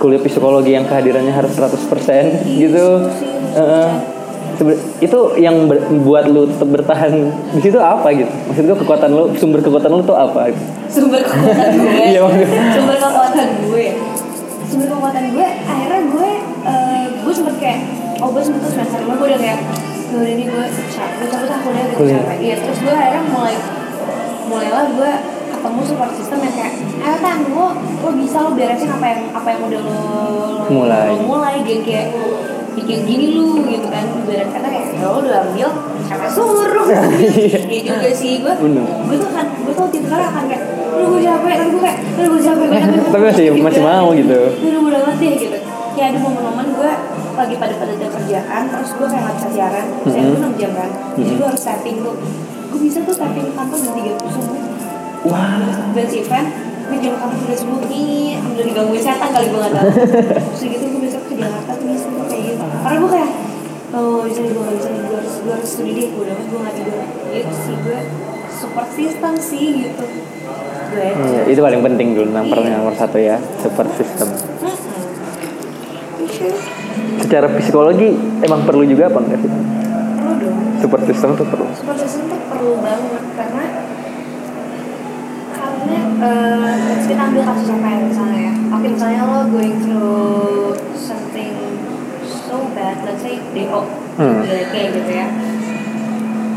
kuliah psikologi yang kehadirannya harus 100% gitu Heeh. Sebe- itu yang ber- buat lu tetap bertahan di situ apa gitu maksud gue kekuatan lu sumber kekuatan lu tuh apa gitu? sumber kekuatan gue Iya, maksudnya. sumber kekuatan gue sumber kekuatan gue akhirnya gue eh, gue sempet kayak oh gue sempet tuh semester lima gue udah kayak gue ini gue capek gue capek aku udah gue Kuliah. capek iya terus gue akhirnya mulai mulailah gue ketemu support system yang kayak ayo kan lo lo bisa lo beresin apa yang apa yang udah lo lo- Mulai. lo mulai kayak kayak bikin gini lu gitu kan ibarat kata kayak "Ya, lo udah ambil siapa yang suruh iya juga sih gue Bener. gue tuh akan gue tuh tipe orang akan kayak lu gue capek tapi gue kayak lu gue capek gue capek Tapi masih- masih mau gitu. lu udah banget deh gitu kayak ada momen-momen gue lagi pada pada kerjaan terus gue kayak nggak bisa siaran Mhm. saya gue enam jam kan jadi Mm-hmm. gue harus tapping tuh gue bisa tuh tapping kantor jam tiga puluh wah gue si fan gue jam kantor udah sepuluh ini udah digangguin setan kali gue nggak tahu terus gitu gue besok ke Jakarta tuh bisa tuh kayak gitu karena gue kayak oh bisa nih gue nggak bisa nih gue harus gue harus studi deh gue udah gue nggak tidur gitu sih gue support system sih gitu ya. gue Iya, itu paling penting dulu nomor nomor satu ya support system Hmm. Iya secara psikologi emang perlu juga apa enggak sih perlu dong support system tuh perlu support system tuh perlu banget karena karena eh, let's kita ambil kasus apa ya misalnya ya oke misalnya lo going through something so bad let's say DO Hmm. kayak gitu ya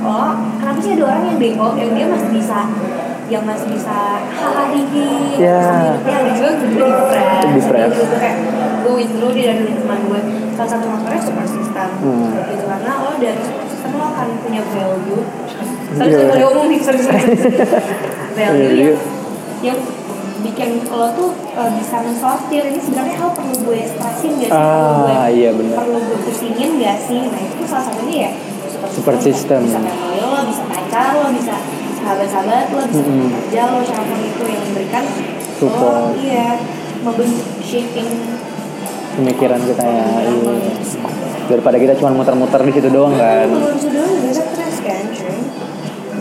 lo kenapa sih ada orang yang DO yang dia masih bisa yang masih bisa hahaha hihi Ya. yang juga gue depressed Depressed. Gitu, kayak gue withdraw di dari teman gue salah satu motornya support system Hmm. gitu karena lo dari support system lo akan punya value Iya. sorry sorry boleh ngomong nih sorry sorry value Iya, yang, yang bikin lo tuh uh, bisa mensortir ini sebenarnya lo perlu gue stresin gak sih perlu gue Ah, iya, benar. perlu gue pusingin gak sih nah itu salah satunya ya Support system. bisa family lo bisa pacar lo bisa sahabat-sahabat lo bisa Mm-mm. kerja lo siapapun itu yang memberikan Support. lo iya membentuk shaping pemikiran kita ya iya. daripada kita cuma muter-muter di situ doang kan Kalau bisa doang juga stres kan cuy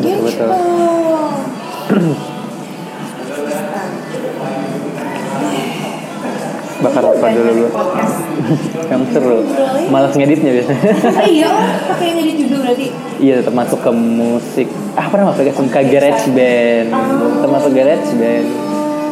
Betul, betul. Gitu. bakar apa dulu lu Podcast. yang seru malas ngeditnya biasanya Oh iya, oh, pakai yang edit juga berarti. iya tetap masuk ke musik ah pernah masuk ke, ke garage band tetap masuk garage band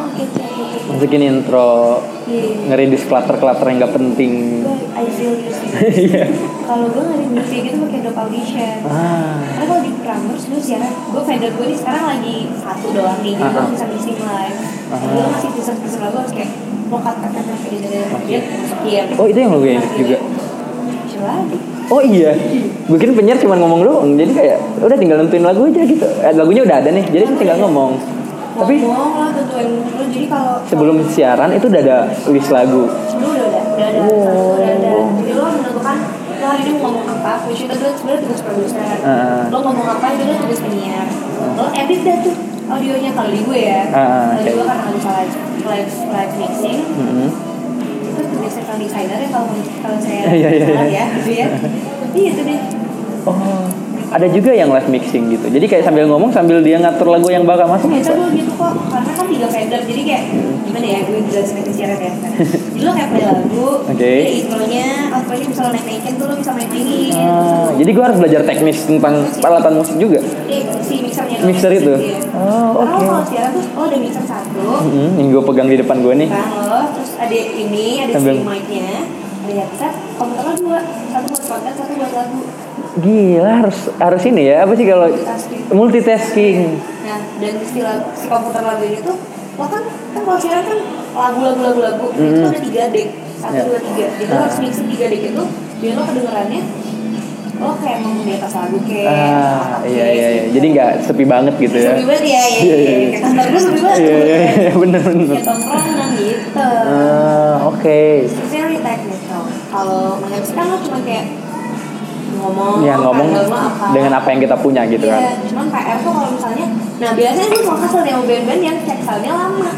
Oke, cek, oke. masukin intro Iya, iya. ngeredis klater-klater yang nggak penting Gue- I feel you sih. iya Kalau gue ngeri musik gitu pakai Adobe audition. ah Karena kalau di Prambors lu siaran, gue vendor gue nih sekarang lagi satu doang nih, jadi gue Ah, ah. bisa mixing live. Gue masih teaser-teaser lagu harus kayak mau katakan apa di dalam dia masukin. oh itu yang lu edit juga Coba deh. Oh iya, bikin penyiar cuma ngomong doang. Jadi kayak udah tinggal nentuin lagu aja gitu. Eh, lagunya udah ada nih, jadi tinggal ngomong. Tapi ngomong lah tentuin dulu, jadi kalau sebelum siaran itu udah ada list lagu. sebelum udah ada udah ada Wow. udah ada jadi lo menentukan lo hari ini mau ngomong apa which itu adalah sebenarnya tugas produser Ah. lo ngomong apa itu adalah tugas penyiar lo edit dah tuh audionya kalau di gue ya Ah, ah, kalau di oke. gue karena bisa live live live mixing Mm-mm. itu tugasnya kalau designer ya kalau kalau saya Iya, iya, salah iya. ya gitu ya iya itu deh Oh, ada juga yang live mixing gitu. Jadi kayak sambil ngomong sambil dia ngatur lagu yang bakal masuk. biasa gue gitu kok karena kan tiga vendor jadi kayak gimana ya gue jelasin ke siaran ya jadi lo kayak play lagu Oke. ada intronya outro-nya bisa lo naik naikin tuh lo bisa main mainin Ah, jadi gua harus belajar teknis tentang peralatan musik juga. Eh, si mixernya Mixer itu? Iya. Oh, Karena oke. kalau siaran tuh lo ada mixer satu Mm-mm, Hmm, yang gue pegang di depan gue nih. kan lo terus ada ini ada Sambil- si mic-nya ada headset komputer lo dua satu buat konten satu buat lagu Gila harus harus ini ya apa sih kalau Multitasking. multitasking. nah dan si, lagu, si komputer lagu ini tuh lo kan kan kalau siaran kan lagu lagu lagu lagu itu Mm-mm. ada tiga deck satu Iya. dua tiga jadi lo harus mixer tiga deck itu biar lo kedengerannya lo kayak ngomong di atas lagu kayak Ah, iya apa kayak iya iya. gitu. Jadi nggak sepi banget gitu ya. Sepi banget ya, ya, Iya, ya, iya, ya. iya. Kayak kantor gue sepi banget. Iya iya iya bener bener. Kayak tongkrongan gitu. Ah, oke. It's very technical. Kalau mengajar kan lo cuma kayak ngomong yang Ya, Iya, ngomong PR lo apa. dengan apa yang kita punya gitu Iya, kan cuman PR tuh kalau misalnya nah biasanya gue kalau kesel sama band-band yang keselnya lama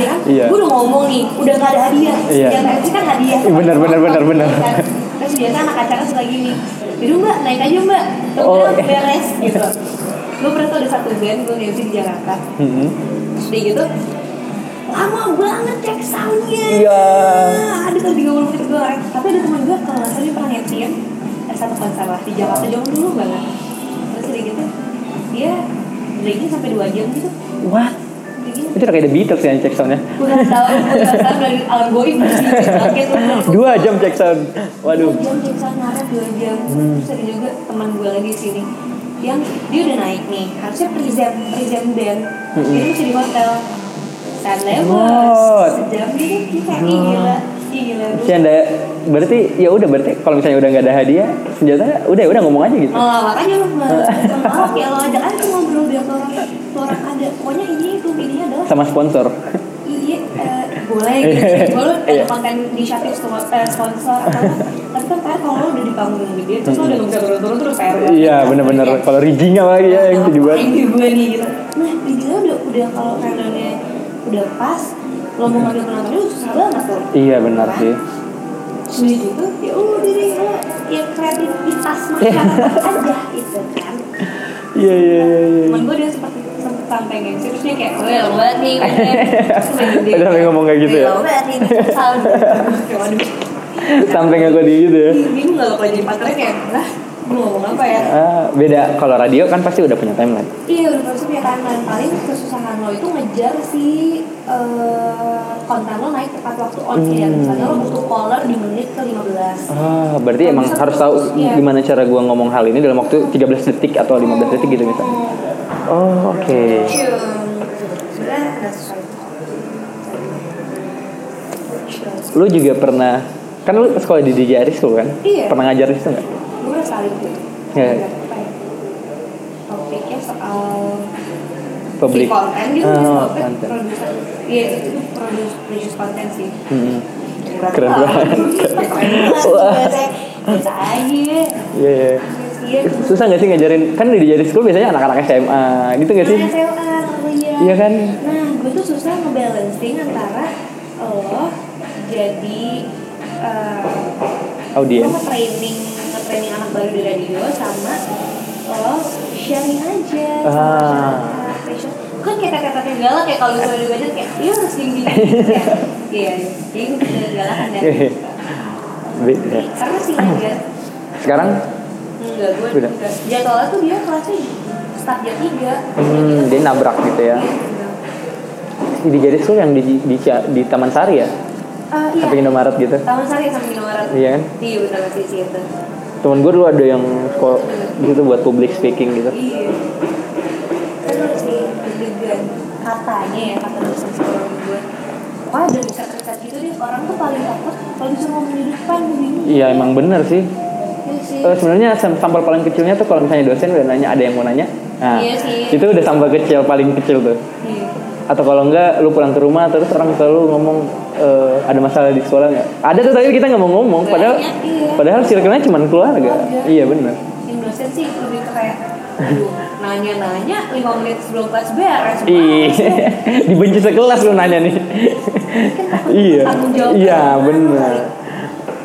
ya kan Iya. gue udah ngomong nih udah gak ada hadiah Iya. yang kayak kan hadiah Iya, bener, bener, bener, bener. Kan? terus biasa anak acara suka gini jadi mbak naik aja mbak terus Oh, bilang, iya. beres gitu gue pernah tuh ada satu band gue MC di Jakarta Mhm. Terus dia gitu lama banget cek soundnya Iya. ada tuh 30 menit gue orek. gitu tapi ada teman gue kalau nggak salah dia pernah ngetiin ada satu konser lah di Jakarta jauh dulu banget terus dia gitu dia breaknya sampai 2 jam gitu what dia gini itu udah kayak The Beatles ya, yang check soundnya gue nggak tahu gue nggak tahu dari Alan Boy Ah, dua jam check sound waduh jam jam sangat dua jam Hmm. terus ada juga teman gue lagi di sini yang dia udah naik nih harusnya present present band Hmm. dia masih di hotel Seandainya gue Wow. sejam gitu dia kayak "Ih, gila Ih, gila dulu." Yang ada berarti ya udah berarti kalau misalnya udah nggak ada hadiah senjata udah ya udah ngomong aja gitu. Oh, makanya lo maaf ya lo ajak aja ngobrol biar tuh orang tuh orang ada pokoknya ini itu ini adalah Sama sponsor. iya eh, boleh gitu Iya. Gua lo ada konten di Shopee sponsor eh, sponsor atau apa. tapi kan PR kalau lo udah di panggung yang gede terus lo udah nggak bisa turun-turun terus PR banget. Hmm. Iya bener-bener kalau rigging apa lagi ya yang itu dibuat. Ngapain gue nih gitu nah dibilang udah udah kalau renangnya udah pas lo mau ngambil penontonnya udah susah banget tuh Iya benar sih. sudah gitu ya udah deh lo ya kreativitas masyarakat aja gitu kan Iya iya iya. iya. temen gue dia sempat sempat sampai gengsi terus dia kayak gue lo banget nih gue Ada sampai ngomong kayak gitu ya? lo banget nih kesal Kayak, waduh Sampai nggak di gitu ya. bingung gak lo kalau jadi partner kayak lah gue ngomong apa ya Ah, beda kalau radio kan pasti udah punya timeline. Iya udah pasti punya timeline paling kesusahan lo itu ngejar si eh, konten lo naik tepat waktu on Hmm. air misalnya lo butuh caller di menit ke 15 Ah, berarti emang Bisa harus terus, tahu iya. gimana cara gua ngomong hal ini dalam waktu 13 detik atau 15 detik gitu misalnya. Oh, oke. cium sudah ada sesuai Lu juga pernah kan lu sekolah di DJ Aris tuh kan? Iya. Pernah ngajar di situ nggak? gue udah saling tuh Iya. topiknya soal Public. si konten gitu Oh, oh, konten konten. produser iya itu produce produce konten sih Hmm. Berat Keren banget. Keren banget. Wah. Biasa aja. Iya, iya. Iya. Susah gak sih ngajarin? Kan di jadi school biasanya anak-anak SMA gitu gak sih? Nah, SMA, oh iya. Iya kan? Nah, gue tuh susah ngebalancing antara lo jadi eh, lo Audiens. nge-training nge-training anak baru di radio sama lo sharing aja sama Ah. masyarakat, facial. kan kayak kata-kata galak kayak kalau misalnya di budget kayak iya harus gini gini kayak iya jadi gue bisa galak kan dan Iya. Beda. karena sih enggak Sekarang enggak gue Beda. enggak jadwalnya tuh dia kelasnya start jam tiga hmm, dia nabrak gitu ya. Di jadi school yang di, di, di Taman Sari ya? Eh, iya. ya, Sampai Indomaret gitu. Taman Sari sama Indomaret. Iya kan? Iya benar sih sih itu. Temen gue dulu ada yang sekolah gitu buat public speaking gitu. Iya. Terus sih deg-degan katanya ya kata dosen sekolah gue. Wah dari riset-riset gitu deh orang tuh paling takut kalau disuruh ngomong di depan begini. Iya emang bener sih. Iya sih. Eh, Sebenarnya sam- sampel paling kecilnya tuh kalau misalnya dosen udah nanya ada yang mau nanya. Nah, Iya sih. itu udah sampel kecil paling kecil tuh. Iya. atau kalau enggak lu pulang ke rumah terus orang selalu ngomong e, ada masalah di sekolah nggak ada tuh tapi kita nggak mau ngomong padahal Banyak, iya. padahal circle-nya cuma keluarga Keluarga. iya benar Yang dosen sih lebih ke kayak aduh, nanya-nanya lima menit sebelum kelas Iya. beres. Ih, dibenci sekelas lu nanya nih. iya. tanggung jawab. Iya, benar.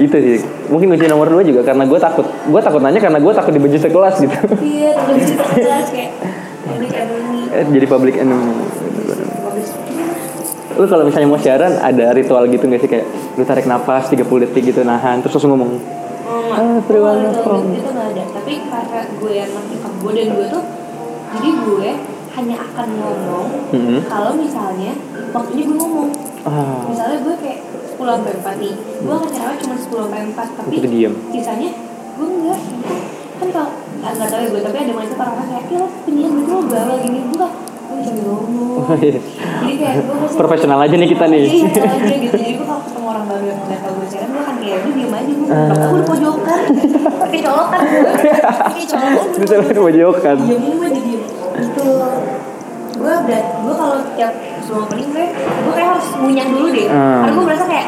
Itu sih. Mungkin kunci nomor dua juga karena gue takut. Gue takut nanya karena gue takut dibenci sekelas gitu. Iya, terus di kelas kayak ini kayak gini. Eh, Jadi public enemy. Lu kalau misalnya mau siaran ada ritual gitu gak sih kayak lu tarik napas 30 detik gitu nahan terus langsung ngomong Oh, everyone itu- from- itu itu nggak ada tapi karena gue yang ngerti ke gue dan gue tuh jadi gue hanya akan ngomong Mhm. kalau misalnya waktunya gue ngomong ah misalnya gue kayak 10 sampai 4 nih gue akan ceramah cuma 10 sampai 4 tapi Itu diem. sisanya gue enggak gitu. kan kalau nggak nggak tahu ya gue tapi ada mindset orang-orang kayak ya lo penyiar gitu lo bawel gini gue kayak gue jangan ngomong jadi kayak gue harus- Oh, iya. Profesional aja nih kita nih. iya profesional aja gitu jadi gue kalau ketemu orang baru yang ngeliat gue siaran gue kan kayak gue diem aja gue aku udah pojokan pakai colokan gue pakai colokan gue. Bisa lihat pojokan. diemin kan. Iya, gue di diem gitu gue berat gue kalau tiap sebelum opening gue gue kayak harus ngunyah dulu deh Hmm. karena gue merasa kayak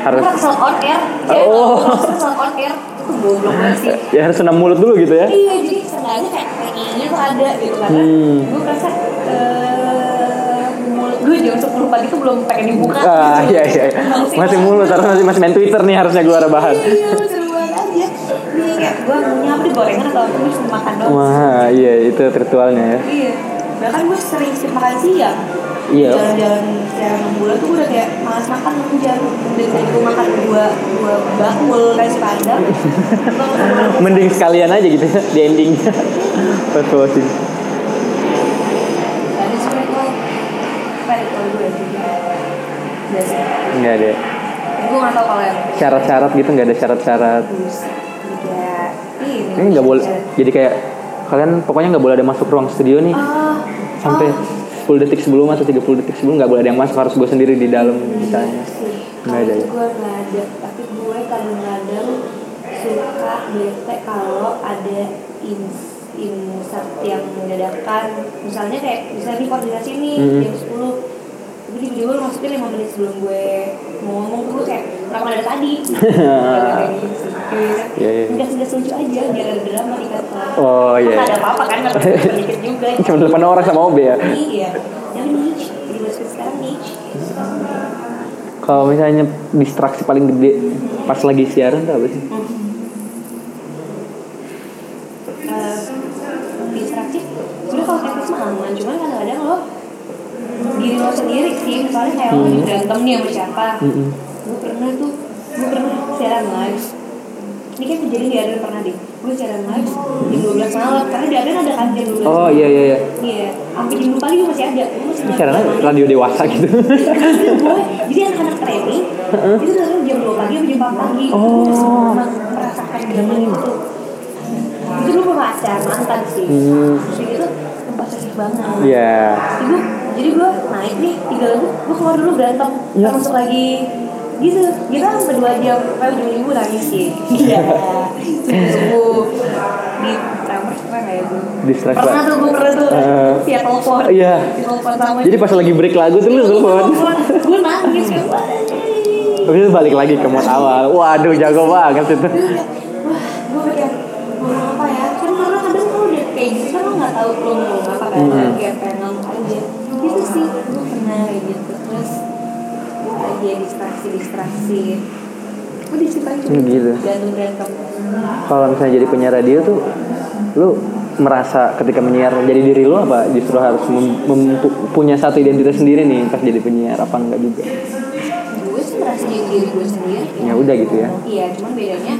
Harus. gue kesel on air Oh. gue kesel on air goblok banget sih ya harus senam mulut dulu gitu ya iya jadi seenggaknya kayak pengennya tuh ada gitu karena gue merasa eh, mulut gue jam 10 pagi tuh belum pengen dibuka ah gitu. iya iya iya. masih mulut harus masih masih main twitter nih harusnya keluar bahan iya seru banget aja iya kayak gue ngunyah udah gorengan atau aku cuma makan doang wah iya itu virtualnya ya iya bahkan gue sering sih makan siang Iya. jalan-jalan jalan bulan tuh gue udah kayak malas makan hujan dari tadi gue makan dua dua bakul nasi padang mending sekalian aja gitu ya, di endingnya pas closing tadi sore gue balik kalau gue biasa nggak ada gue nggak tahu kalau yang syarat-syarat gitu nggak ada syarat-syarat terus tiga ini ini nggak boleh jadi kayak kalian pokoknya nggak boleh ada masuk ruang studio nih Ah, sampai ah. 10 detik sebelum atau 30 detik sebelum nggak boleh ada yang masuk harus gue sendiri di dalam misalnya Iya, Kalau Nggak ada itu ya? gue nggak ada, tapi gue kadang-kadang suka bete kalau ada in insert yang dadakan. Misalnya kayak misalnya nih koordinasi nih Mhm. jam 10 tapi tiba-tiba lu masukin 5 menit sebelum gue mau ngomong tuh gue kayak kenapa nggak dari tadi? Iya, Kayak gitu sih. Iya, iya. Nggak nggak lucu aja biar ada drama di kantor. Oh, iya, Nggak ada iya. apa-apa kan nggak ada sedikit juga. cuma 8 orang sama OB ya Iya. Yang niche, jadi gue suka sekarang niche. kalau misalnya distraksi paling gede pas lagi siaran tuh apa sih eh, distraksi sebenarnya kalau teknis mah aman cuman kadang-kadang lo diri lo sendiri sih misalnya kayak lo Hmm. lagi berantem nih sama siapa Mm-mm. gue pernah tuh gue pernah siaran live ini kan terjadi di Aden pernah deh gue siaran live jam 12 malam karena di Aden ada kan jam 12 oh iya iya iya iya sampai jam 2 pagi gue masih ada gue masih Ini siarannya radio dewasa gitu Iya, boy. jadi anak-anak training itu sekarang jam 2 pagi sampai jam 4 pagi Oh. Terus memang merasakan zaman itu itu dulu pacar mantan sih Hmm. terus kayak gitu tempat seksi banget iya jadi gue jadi gue naik nih tiga lagu gue keluar dulu berantem Iya. terus masuk lagi gitu kita sampai dua jam kayak ujung minggu nangis sih iya subuh di kamar pernah nggak ya gue Distract pernah banget. tuh gue pernah tuh Eh. via telepon Iya. Via telepon sama jadi pas lagi break lagu tuh lu telepon gue nangis kayak wah Habis itu balik lagi ke mod awal. Waduh, jago banget itu. wah gue kayak mau ngomong apa ya kan karena kadang lo udah kayak gitu kan lo nggak tahu lo mau ngomong apa kan Hmm. kayak pengen ngomong aja gitu sih gue pernah kayak gitu terus lagi distraksi distraksi gue diceritain cuma Hmm, gitu. gantung gantung Kalau misalnya jadi penyiar radio tuh, lu merasa ketika menyiar jadi diri lu apa justru harus mem- mem- pu- punya satu identitas sendiri nih pas jadi penyiar apa enggak juga gue sih merasa jadi diri gue sendiri ya udah gitu ya iya cuman bedanya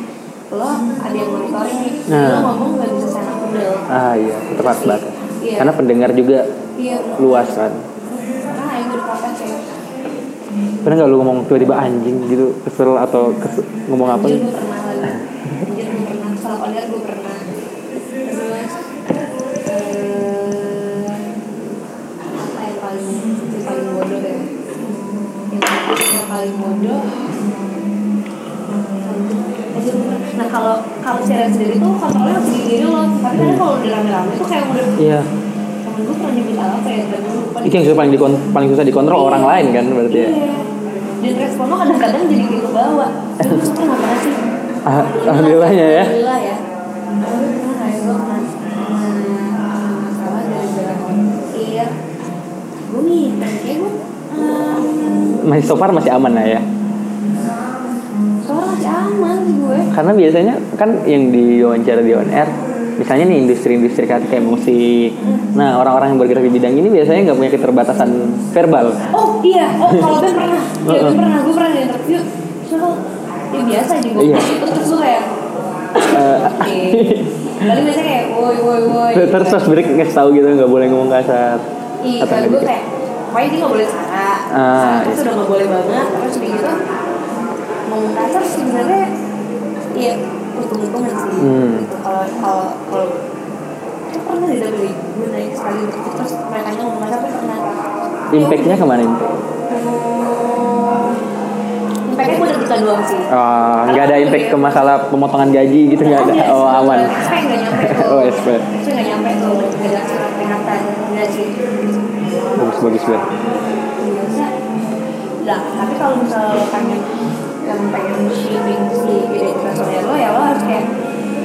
lo ada yang monitoring nih Nah. lo ngomong nggak bisa sana kudel ah iya tetap harus batas Iya. karena pendengar juga iya luas kan karena ayo gue dipotong kayak pernah nggak lu ngomong tiba-tiba anjing gitu kesel atau kes- ngomong apa Anjir gitu? gue pernah lagi Anjir gue pernah Salah order gue pernah Terus eh, Apa yang paling Yang paling bodoh ya Yang, yang paling bodoh Anjir, gue pernah. Nah kalau kalau siaran sendiri tuh kontrolnya harus di diri lo Tapi kadang kan kalau udah rame-rame tuh kayak udah iya Temen gue pernah nyebut apa ya Dan gue lupa itu yang susah paling dikon- paling susah dikontrol orang lain kan berarti ya Iya Dan respon lo kadang-kadang jadi gitu bawa Gue suka gak pernah sih Ah, alhamdulillahnya ya Alhamdulillah ya. Lalu pernah ada gua kena- kena masalah gara-gara orang. Iya. ya Gue nih, kayak gue ehm, em, masih so far masih aman lah ya seorang masih aman sih gue. karena biasanya kan yang diwawancara di on air misalnya nih industri-industri kayak kayak musik nah orang-orang yang bergerak di bidang ini biasanya nggak punya keterbatasan verbal Oh iya, oh kalau Ben pernah, iya Ben Heeh. pernah, gue pernah di interview. Terus lo, ya biasa aja gue. Iya. Terus gue kayak, oke. Paling biasanya kayak, woi woi woi. Eh, terus pas break nggak tahu gitu nggak boleh ngomong kasar Iya, Atau kalau nggak gue gitu. kayak, pokoknya dia nggak boleh salah. Ah, Terus iya. udah nggak boleh banget, terus udah gitu ngomong kasar sebenarnya ya untung-untungan sih. Hmm. Gitu. Kalau kalau kalau itu pernah tidak beli gue naik sekali gitu terus mereka ngomong kasar tuh pernah. impactnya kemana ini Hmm, Impactnya gue deg-degan doang sih. Ah, nggak ada impact ke masalah pemotongan gaji gitu nggak ada oh aman SP iya, nggak nyampe tuh. Oh, SP. SP nggak nyampe tuh. Nggak ada surat peringatan. Iya, Nggak sih. bagus bagus banget iya. biasa lah tapi kalau misalnya lo pengen yang pengen shaping si identitas personal lo ya lo harus kayak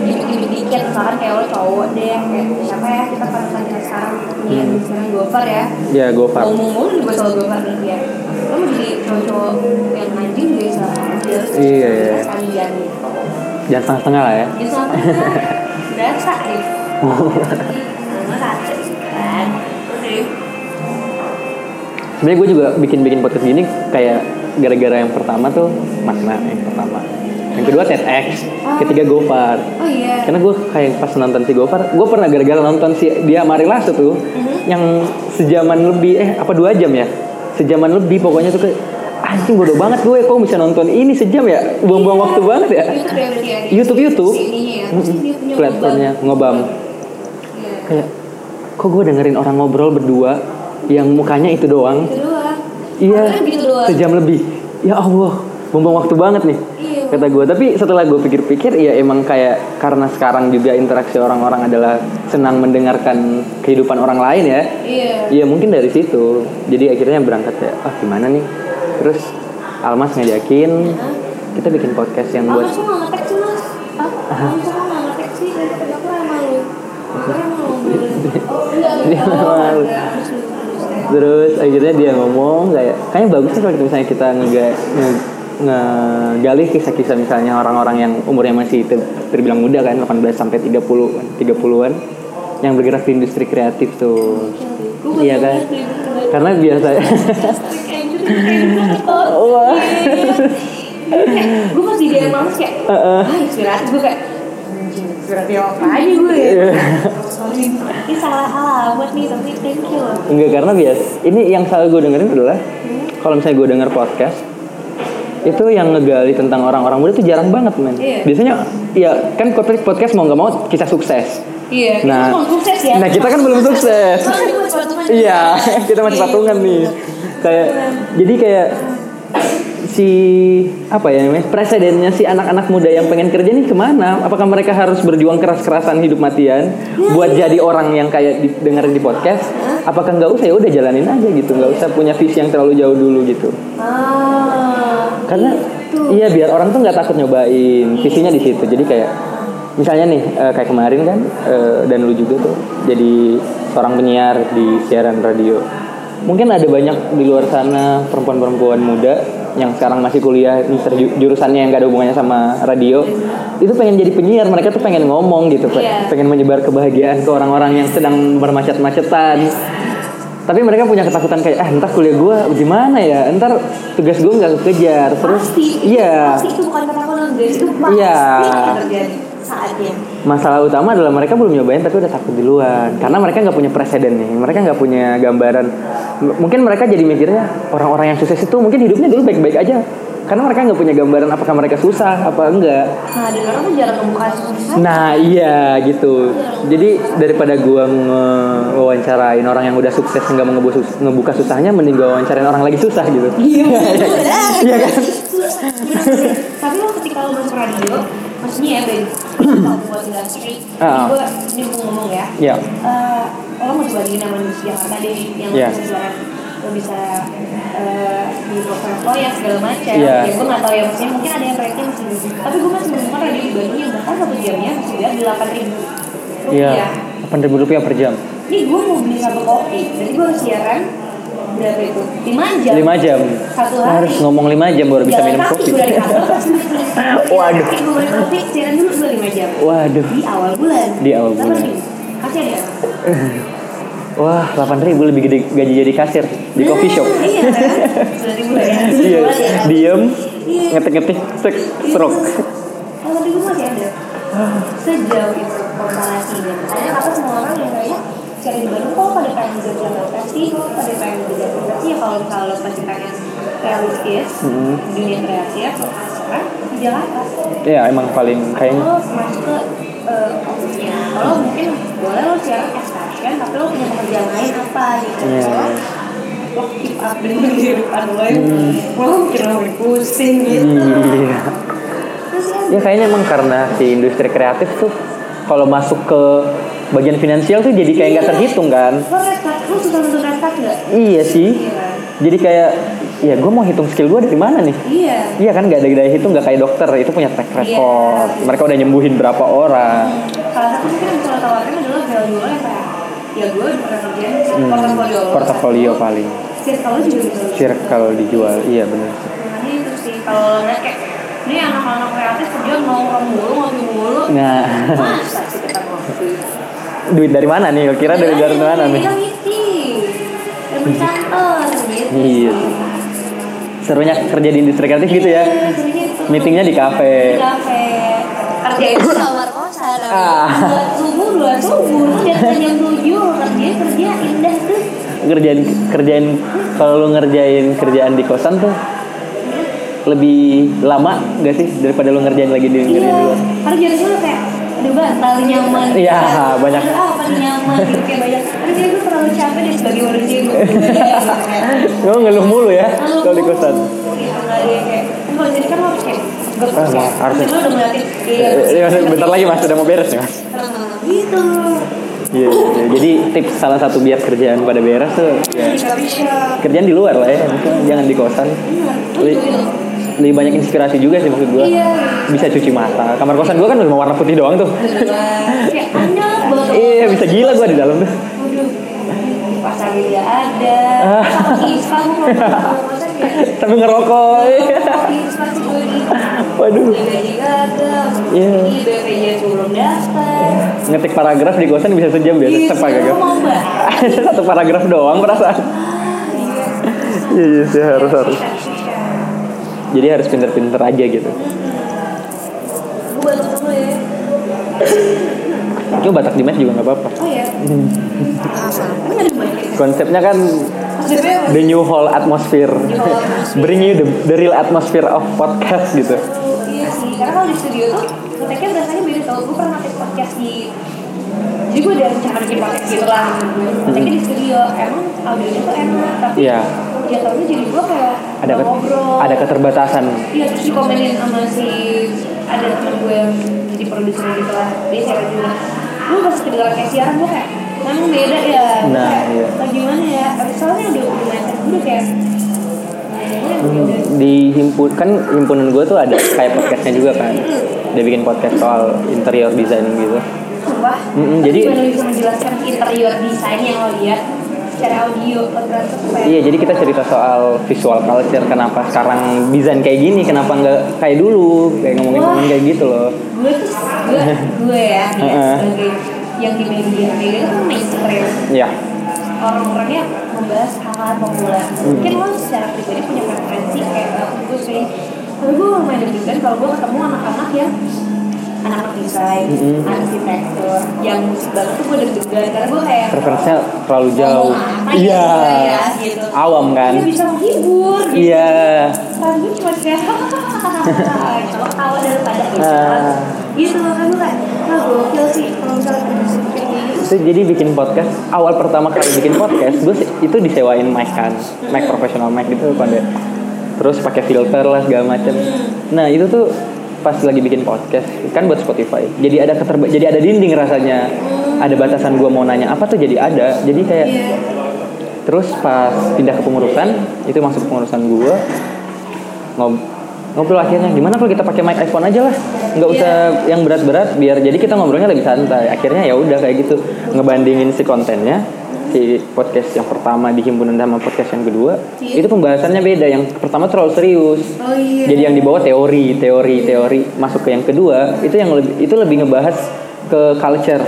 dikit-dikit dikit misalkan kayak lo cowok deh kayak siapa ya kita pada saat kita sekarang nih Hmm. yang sekarang Gofar ya Ya go far. ngomong mulu juga soal Gofar nih ya lo mau jadi cowok-cowok yang anjing juga salah aja Iya, iya. kalian Jangan setengah-setengah lah ya. itu apa berasa nih karena rasa kan terus jadi Sebenarnya gue juga bikin-bikin podcast gini kayak gara-gara yang pertama tuh makna yang pertama. Yang kedua TEDx, ketiga Gopar. oh iya Karena gue kayak pas nonton si Gopar, gue pernah gara-gara nonton si dia Marila tuh yang sejaman lebih eh apa dua jam ya? Sejaman lebih pokoknya tuh kayak anjing bodoh banget gue kok bisa nonton ini sejam ya? Buang-buang waktu banget ya. YouTube ya berarti ya YouTube YouTube si ininya ya terus dia punya platformnya ngobam. lubang. Iya. Kayak kok gue dengerin orang ngobrol berdua yang mukanya itu doang. Itu doang. Iya, Akhirnya gitu doang. sejam lebih. Ya Allah, bumbang waktu banget nih. Iya. Kata gue, tapi setelah gue pikir-pikir, ya emang kayak karena sekarang juga interaksi orang-orang adalah senang mendengarkan kehidupan orang lain ya. Iya. Iya mungkin dari situ. Jadi akhirnya berangkat ya, ah gimana nih? Terus Almas ngajakin, kita bikin podcast yang Aku buat tuh nggak ngetek sih mas. Aku tuh nggak ngetek sih. Dari tadi aku ramai lu. Aku emang mau beli. Oh iya. Dia Oh, ramai lu. ada. Terus lu- terus kayak, Terus akhirnya dia ngomong kayak kayaknya bagus sih kalau misalnya kita ngega- nge- ngegali kisah-kisah misalnya orang-orang yang umurnya masih ter- terbilang muda kan 18 sampai 30 kan, 30-an yang bergerak di industri kreatif tuh. Gua baru Iya kan? ingat beli beli kemarin. Karena biasa Nah, Terus kayak gitu, kayak gitu, ketawa. Wah. Kayak, gue masih dia males kayak ah inspiratif gue kayak anjing, inspiratif apa aja gue ya Sorry, ini salah alamat nih tapi thank you loh Enggak karena bias. Ini yang selalu gue dengerin adalah kalau misalnya gue denger podcast itu yang ngegali tentang orang-orang muda itu jarang banget men. Iya. Biasanya ya kan podcast mau nggak mau kisah sukses. iya kita Nah, belum sukses ya nah, kita kan belum sukses. Kita masih patungan. Iya, kita masih patungan nih. Kayak jadi kayak si apa ya namanya presidennya si anak-anak muda yang pengen kerja nih kemana? Apakah mereka harus berjuang keras-kerasan hidup matian buat jadi orang yang kayak didengerin di podcast? Apakah nggak usah ya udah jalanin aja gitu, nggak usah punya visi yang terlalu jauh dulu gitu. ah Karena iya biar orang tuh nggak takut nyobain visinya di situ. Jadi kayak misalnya nih eh, kayak kemarin kan eh, dan lu juga tuh jadi seorang penyiar di siaran radio. Mungkin ada banyak di luar sana perempuan-perempuan muda yang sekarang masih kuliah di serju- jurusannya yang gak ada hubungannya sama radio itu pengen jadi penyiar mereka tuh pengen ngomong gitu pe- Iya. pengen menyebar kebahagiaan ke orang-orang yang sedang bermacet-macetan tapi mereka punya ketakutan kayak ah ntar kuliah gue gimana ya ntar tugas gue nggak kekejar terus pasti iya pasti itu bukan kata kalian guys itu pasti Iya. akan terjadi saatnya masalah utama adalah mereka belum nyobain tapi udah takut duluan karena mereka nggak punya presiden nih mereka nggak punya gambaran M- mungkin mereka jadi mikirnya orang-orang yang sukses itu mungkin hidupnya dulu baik-baik aja karena mereka nggak punya gambaran apakah mereka susah apa enggak nah dan orang tuh jarang membuka susah Nah iya gitu. Jadi daripada gua ngewawancarain orang yang udah sukses nggak mau ngebu- sus- ngebuka susahnya, mending gua wawancarain orang lagi susah gitu. Iya. Iya kan? tapi lo ketika lo masuk radio maksudnya ya Ben kalau buat industri ini Ah. gue ini gue ngomong ya Iya. Eh, lo mau dibagiin sama di Jakarta deh yang Iya. bisa jualan lo bisa eh, di program lo yang segala macam Iya. ya gue nggak tahu ya maksudnya mungkin ada yang proyeknya masih belum tapi gue masih menemukan radio di Bandung yang bahkan satu jamnya masih dia delapan ribu Iya. rupiah Delapan ribu rupiah per jam. ini gue mau beli satu kopi berarti gue harus siaran berapa itu lima jam Lima jam. Iya. Satu hari. Harus ngomong lima jam baru bisa minum kopi. Jalan kaki gue dari kantor pas beli beli. Waduh. Gue beli kopi, jalan dulu gue 5 jam. Waduh. Di awal bulan. Di awal Tapi bulan. nih, Kasih ada. Wah, delapan ribu lebih gede gaji jadi kasir di Nah, coffee shop. Iya kan? Bulan ribu ya. Iya. Bulan ya. Diem, Iya. ngetik-ngetik, sek, Iya. stroke. Oh, tapi gue masih ada. Sejauh itu komparasinya. Makanya apa semua orang yang kayak cari di Bandung kok pada pengen kerja Jakarta sih, kok pada pengen kerja Jakarta sih ya kalau kalau pasti pengen realistis, Hmm. dunia kreatif, sekarang di Jakarta. Iya, emang paling kayaknya. lo masuk ke Oh, eh, office-nya lo mungkin boleh lo siaran extension tapi lo punya pekerjaan lain apa gitu Iya. Soalnya lo keep up dengan kehidupan lo yang lo mungkin lo makin pusing gitu Iya. terus kan Ya kayaknya emang karena si industri kreatif tuh kalau masuk ke Iya. bagian finansial tuh jadi kayak nggak terhitung kan? lo restart lo susah untuk restart nggak Iya sih. iya jadi kayak ya gue mau hitung skill gue dari mana nih Iya. Iya kan gak ada daya hitung gak kayak dokter itu punya track record. Iya. Mereka udah nyembuhin berapa orang. Salah satu mungkin yang bisa lo tawarin adalah value lo yang kayak ya gue udah pernah kerja Hmm, portfolio lo. portofolio paling. Circle lo juga gitu. Circle dijual. Iya benar. Nanti itu sih kalau lo ngeliat kayak ini anak-anak kreatif kerja nongkrong mulu ngopi mulu. Nah, Masa sih kita ngopi? duit dari mana nih? Lo Kira Kan dari Iya. dari mana nih? Yang itu. Yang kantor gitu. Iya. Serunya kerja di industri kreatif gitu ya. Meetingnya di kafe. Iya, Di kafe. Kerja itu kamar kosan. Ah. Dua subuh, dua subuh. Lu datang jam tujuh, kerja kerja indah tuh. Kerjain kerjain kalau lo ngerjain kerjaan di kosan tuh lebih lama gak sih daripada lo ngerjain lagi di Iya. kerja di luar? Karena jadi dulu kayak aduh bantal nyaman. Iya, Aduh, banyak. Ah, paling nyaman gitu kayak banyak. Aduh, kayak gue terlalu capek deh sebagai manusia gue. Gitu. Lo ngeluh mulu ya Lalu kalau di kosan. Iya, nggak ada yang kayak kan kalau jadi kan lo harus kayak gue Ah, kayak, harusnya. lu udah ngeliatin iya Eh, Mas, bentar lagi mas, udah mau beres nih mas. Ah, gitu Iya, iya, iya. jadi tips salah satu biar kerjaan pada beres tuh ya. di coffee shop kerjaan di luar lah ya, maksudnya jangan di kosan. Iya, Lebih, lebih banyak inspirasi juga sih maksud gua. Iya. Bisa cuci mata. Kamar kosan gua kan cuma warna putih doang tuh. ya. kayak anak banget Iya, bisa gila gua di dalam tuh. Waduh, pasarnya nggak ada Ah. Sama Ispa, gue mau ngomong pasar ya Sambil ngerokok. iya. Sama Ispa sih gue di Waduh, Gaji nggak ada Iya. Ini BPJS belum daftar ngetik paragraf di kosan bisa sejam biasa. Iya, Tetep agak sekarang mau bahas Satu paragraf doang perasaan. Iya, iya sih harus harus. Jadi harus pinter-pinter aja gitu. Gue bantu dulu ya Cuma batak dimas juga nggak apa-apa. Oh ya Bener banget Konsepnya kan Maksudnya the new whole atmosphere. Bring you the, the real atmosphere of podcast gitu. Iya sih, karena kalau di studio tuh ngeteknya berasanya beda tau Gue pernah ngetek podcast di Jadi gue udah rencana bikin podcast gitu lah Ngeteknya di studio, emang audionya tuh enak Tapi Iya. dia tau jadi gue kayak Ada nggak ke- ngobrol ada keterbatasan. Iya terus dikomenin sama si Ada temen gue yang jadi produser gitu lah Dia cewek juga Lu pas kedengeran kayak siaran gue kayak Emang beda ya Gue Nah, kayak, iya. "Oh, Gimana ya, tapi soalnya udah udah mindset gue udah kayak "Kayaknya beda." Di himpun kan himpunan gue tuh ada kayak podcastnya juga kan. Dia bikin podcast soal interior design gitu. Wah, Mm-mm, hmm, jadi- gimana lu bisa menjelaskan interior desain yang lo lihat secara audio podcast Iya, jadi kita cerita soal visual culture kenapa sekarang desain kayak gini, kenapa nggak kayak dulu, kayak ngomongin-ngomongin kayak gitu loh. Gue tuh gue gue ya nih, ya, Heeh. sebagai yang di media media itu kan mainstream Iya. orang-orangnya membahas hal-hal populer. Hmm. Mungkin lo secara pribadi punya preferensi kayak eh, gue sering tapi gue lumayan deg-degan kalau gue ketemu anak-anak yang anak-anak desain, Hmm. arsitektur, yang musik banget tuh gue deg-degan karena gue kayak "Oh, Preferensinya terlalu Ngomong jauh. apa Iya. ya, gitu. Awam kan. Dia bisa menghibur gitu. Iya. Kan gue cuma kayak kalau tawa daripada gitu. Ah. Gitu kan gue kayak "Wah, gokil sih kalau misalnya produksi kayak gitu. Terus jadi bikin podcast awal pertama kali bikin podcast gue se- itu disewain mic kan mic profesional mic gitu kan deh. terus pakai filter lah segala macem nah itu tuh pas lagi bikin podcast kan buat Spotify jadi ada keterba jadi ada dinding rasanya ada batasan gue mau nanya apa tuh jadi ada jadi kayak Iya. terus pas pindah ke pengurusan itu masuk pengurusan gue ngob ngobrol akhirnya gimana kalau kita pakai mic iPhone aja lah nggak usah yang berat-berat biar jadi kita ngobrolnya lebih santai akhirnya ya udah kayak gitu ngebandingin si kontennya si podcast yang pertama di himpunan sama podcast yang kedua itu pembahasannya beda yang pertama terlalu serius Oh iya. jadi yang dibawa teori teori teori masuk ke yang kedua itu yang lebih itu lebih ngebahas ke culture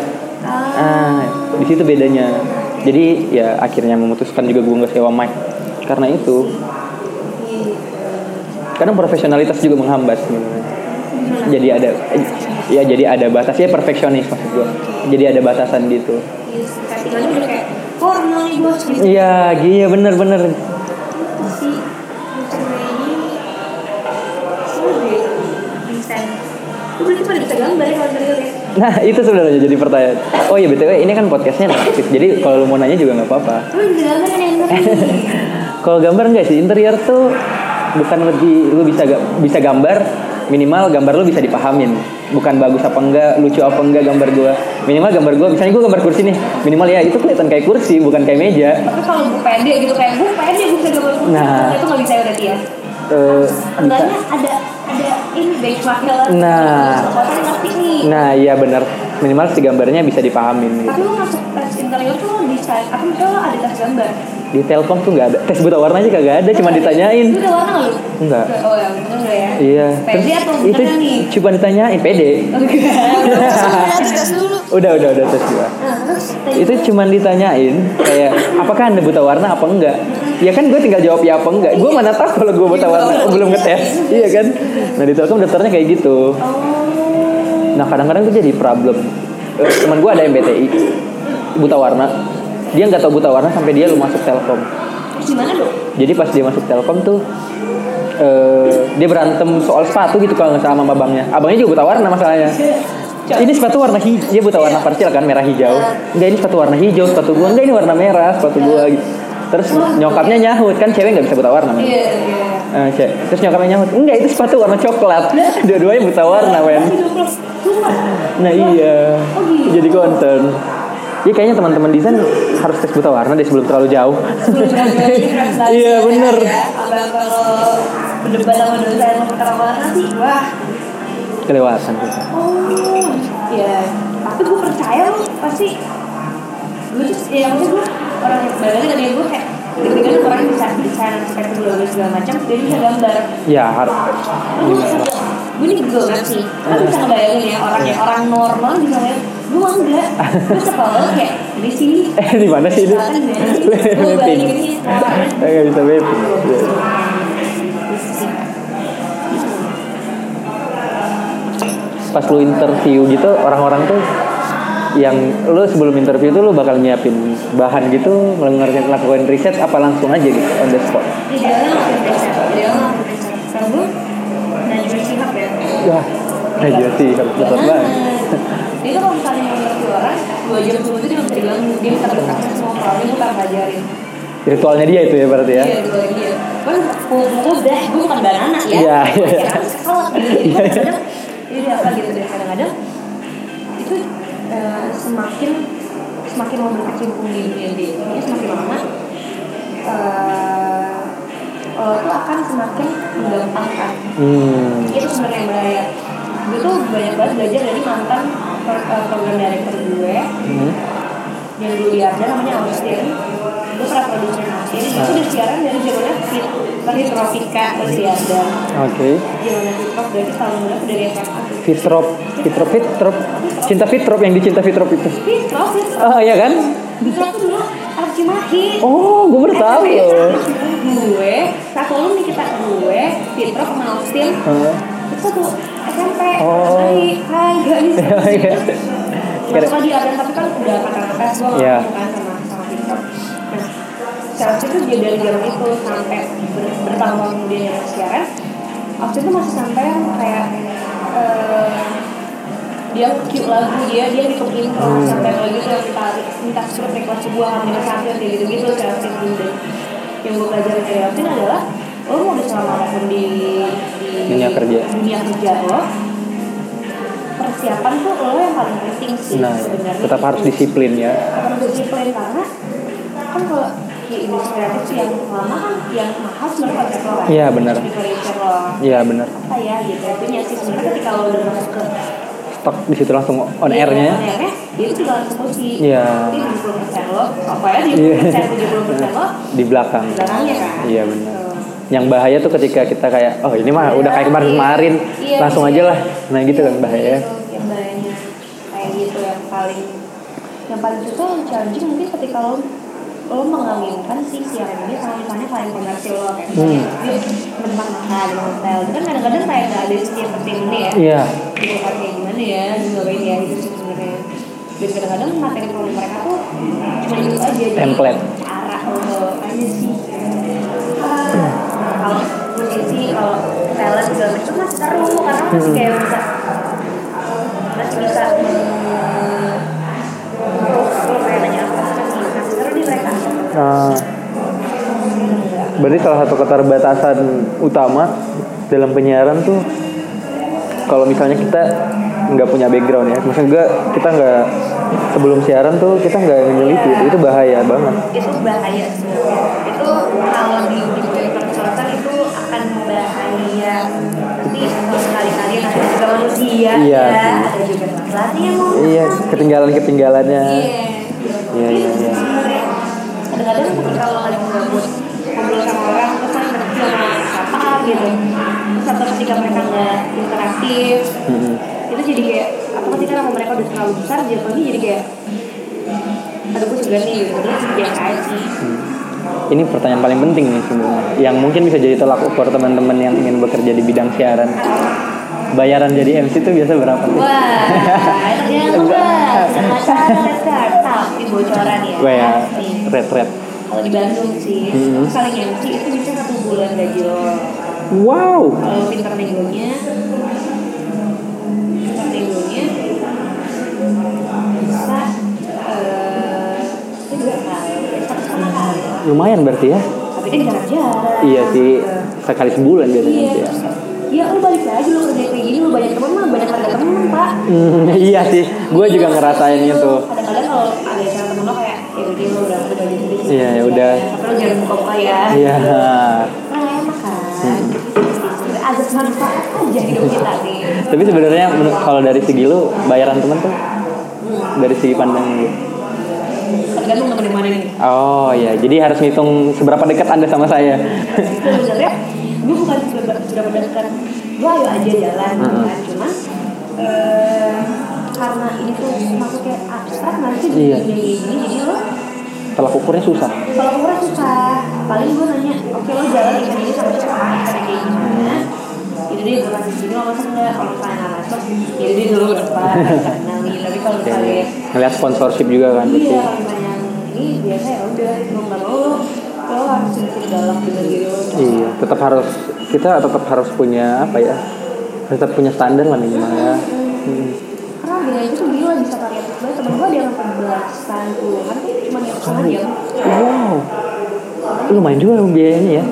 Ah, di situ bedanya. Jadi ya akhirnya memutuskan juga gue nggak sewa mic karena itu. Iya. Karena profesionalitas juga menghambat. sebenarnya. Jadi ada eh, ya jadi ada batas ya perfeksionis maksud gue. Jadi ada batasan gitu. Iya, settingannya udah kayak porno nih bos gitu Iya, iya bener-bener. sih. Maksudnya ini seru deh desain. Lu berarti pada bisa gambar ya kalau interior ya? Nah itu sebenarnya jadi pertanyaan. Oh iya btw ini kan podcastnya aktif. Jadi kalau lu mau nanya juga nggak apa-apa. Lu bisa gambar kan yang interior? Kalau gambar enggak sih interior tuh bukan lebih lu bisa ga- bisa gambar minimal gambar lu bisa dipahamin. bukan bagus apa enggak lucu apa enggak gambar gua minimal gambar gua misalnya gua gambar kursi nih minimal ya itu kelihatan kayak kursi bukan kayak meja tapi kalau gue pede gitu kayak gue pede gue bisa gambar kursi Nah. itu nggak bisa ya berarti ya Eh, bisa. enggaknya ada ada ini benchmarknya lah Nah. Soalnya ngerti nih nah iya benar minimal si gambarnya bisa dipahamin gitu. tapi lo masuk tes interior tuh lo desain apa misalnya lo ada tes gambar di telkom tuh nggak ada tes buta warna aja kagak ada cuma Lu ditanyain udah warna nggak lu? Enggak. oh ya bener nggak ya iya pede atau terus itu bukan nih cuma ditanyain pede Enggak. udah udah udah tes dua Nah, terus tadi itu cuman ditanyain kayak apakah anda buta warna apa enggak ya kan gue tinggal jawab ya apa enggak gue mana tahu kalau gue buta warna oh, belum ngetes iya kan nah di telkom daftarnya kayak gitu nah kadang-kadang gue jadi problem Eh, teman gue ada MBTI buta warna dia nggak tahu buta warna sampai dia lu masuk telkom gimana lo? jadi pas dia masuk telkom tuh eh, dia berantem soal sepatu gitu kalau nggak salah sama abangnya abangnya juga buta warna masalahnya ini sepatu warna hijau dia buta warna parsial kan merah hijau enggak ini sepatu warna hijau sepatu gua enggak ini warna merah sepatu gua gitu terus nyokapnya nyahut kan cewek nggak bisa buta warna men Iya, iya. Eh, cewek. terus nyokapnya nyahut enggak itu sepatu warna coklat dua-duanya buta warna men nah iya jadi konten Iya kayaknya teman-teman desain harus tes buta warna deh sebelum terlalu jauh. Iya, bener. Abang kalau berdebat sama dosen tentang warna sih, wah. Kelewatan kita. Oh, iya. Tapi gue percaya lo pasti. Gue tuh, ya maksudnya gue orang yang balik dari gue kayak tiga-tiganya orang yang bisa desain spektakuler segala macam, jadi bisa gambar. Ya harus. gue ini gue banget sih kan bisa ngebayangin ya orang Iya. orang normal bisa ngeliat gue mah enggak gue sekolah "Oh, kayak di sini Eh di mana sih ini? Misalkan ya, gue Mapping. bayanginnya orang Eh nggak bisa mapping. Iya. Pas lu interview gitu orang-orang tuh yang lu sebelum interview tuh lu bakal nyiapin bahan gitu ngeluarin lakukan riset apa langsung aja gitu on the spot di dalam langsung riset di dalam langsung riset kalau gue Najwa Shihab ya wah aja sih harus betul Nah, banget dia tuh kalau misalnya mau interview orang dua jam sebelum itu dia nggak bisa diganggu dia bisa berkata semua orang dia bukan pelajarin ritualnya dia itu ya berarti ya Iya, dua dia. Kan gue udah, gue bukan banana ya. Iya, iya. Ya kan sekolah gitu. Jadi gua kadang jadi apa gitu deh kadang-kadang itu eh, semakin semakin lo berkecimpung di dunia di dunia semakin lama eh, lo tuh akan semakin menggampangkan hmm itu sebenarnya yang bahaya gue tuh banyak banget belajar dari mantan pro- eh, program director gue Hmm. yang dulu di Arda namanya Austin gue pernah produser Austin itu udah siaran dari zamannya Fit dari Tropika terus di Arda oke zamannya Fitrop dari tahun berapa dari SMA fitrop fitrop fitrop cinta fitrop yang dicinta fitrop itu Fitrop Fitrop oh iya kan Fitrop tuh dulu harus Cimahi oh gue baru tahu loh gue satu alumni kita gue Fitrop sama Austin Hah? itu tuh SMP Oh. Hai Hai guys Iya. Masuk lagi Arda tapi kan udah kata-kata gue Iya. yeah. kan sama sama Fitrop nah Chelsea itu dia dari zaman itu sampai ber- bertahun-tahun kemudian yang siaran Austin tuh masih sampai yang kayak eh, dia cute lagu dia dia hitung intro Hmm. sampai lagi tuh yang minta minta surat request sebuah hamil satu kayak gitu gitu Chelsea dulu yang gue pelajari dari Austin adalah lo mau udah selama apapun di, di Dunia kerja. dunia kerja lo persiapan tuh lo yang paling penting sih Nah, sebenarnya tetap harus disiplin ya. akan berdisiplin karena kan kalau di industri kreatif tuh yang lama kan yang mahal sebenarnya konsep lo kan Iya, benar. di furniture lo Iya benar. apa ya gitu tapi ya sih sebenarnya ketika lo udah masuk ke Stok di situ langsung on airnya. ya. air-nya dia itu tinggal langsung kunci Iya. jadi 70% lo apa ya di Iya. 70% lo Di belakang. belakangnya kan Iya benar. Tuh. Yang bahaya tuh ketika kita kayak oh ini mah udah kayak kemarin-kemarin Iya, langsung iya. aja lah. Nah gitu kan bahaya. Gitu, yang bahayanya kayak gitu yang paling yang paling susah yang challenging mungkin ketika lo lo mengaminkan si siaran ini sama misalnya klien komersil lo kayak misalnya Hmm. di tempat makan di hotel itu kan kadang-kadang kayak nggak ada setiap tim ini ya Iya. gitu kan kayak gimana ya ngapain ya itu sih sebenarnya dan kadang-kadang materi promo mereka tuh cuma itu aja jadi Template. cara lo aja sih Ah, kalau musisi kalau talent segala macam masih seru karena masih kayak bisa masih bisa hmm, lo pengen nanya apa masih masih seru nih mereka Nah, berarti salah satu keterbatasan utama dalam penyiaran tuh kalau misalnya kita nggak punya background ya maksud gue kita nggak sebelum siaran tuh kita nggak nyelipin itu bahaya banget itu bahaya sebenarnya itu kalau di dibikin percolokan itu akan bahaya ini sekali-kali kan ada juga manusia Iya, ya sih. ada juga laki-laki yang mau iya ketinggalan ketinggalannya Iya, iya iya iya kadang-kadang kalau ada yang mengganggu ngobrol sama orang terus kan berarti sama apa gitu terus atau ketika mereka nggak interaktif itu jadi kayak apa ketika nama mereka udah terlalu besar jatuhnya jadi kayak ada gue juga nih gitu terus biasa aja sih Ini pertanyaan paling penting nih sebenarnya, yang mungkin bisa jadi tolak ukur teman-teman yang ingin bekerja di bidang siaran. Bayaran jadi MC itu biasa berapa? sih? Wah, ternyata wah, penasaran Restart, tapi bocoran ya. Gue ya, pasti. red red. Kalau di Bandung sih, Hmm. paling MC itu bisa satu bulan gaji lo. wow Kalau pinter negonya, pinter negonya bisa eh, itu dua kali, satu setengah kali. Lumayan berarti ya? Tapi kan jarang-jarang. Iya sih, sekali sebulan biasanya Iya. MC ya. terus, Ya lu balik lagi lu kerja kayak gini lu banyak teman mah banyak harga teman pak. Hmm, iya sih, gue juga ngerasain itu. Kadang-kadang kalau ada acara temen lo kayak ya udah lo berapa udah jadi sendiri sih. Iya, ya udah. Tapi lo jangan buka-buka ya. Iya, Hmm. Nah, emang kan. Sebenarnya Ada manfaat aja hidup kita nih. tapi sebenarnya menurut- kalau dari segi lu bayaran temen tuh dari segi pandang lu. Tergantung temen yang mana nih. Oh iya, jadi harus ngitung seberapa dekat anda sama saya. Sebenarnya gue bukan sudah sudah berdasarkan gue ayo aja jalan Hmm. gitu kan cuma eh, karena ini tuh masuk kayak abstrak nanti jadi Iya. jadi gini jadi lo Tolak ukurnya susah. kalau kurang susah paling gue nanya oke lo jalan event ini sama siapa event kayak gimana itu dia gue kasih sini lo masuk nggak kalau misalnya nggak masuk ya udah dulu berapa kenalin tapi kalau misalnya Iya. Ngeliat sponsorship juga kan. iya pasti. kalau misalnya ini biasa ya udah mau nggak mau lo lo harus sedikit galak dengan diri lo Iya, tetap harus kita tetap harus punya apa ya? Tetap punya standar lah minimal ya. karena beda itu tuh gila bisa variatif banget temen gue ada yang belasan puluhan tapi cuma yang setengah jam Wow, lumayan juga lu biayanya ya.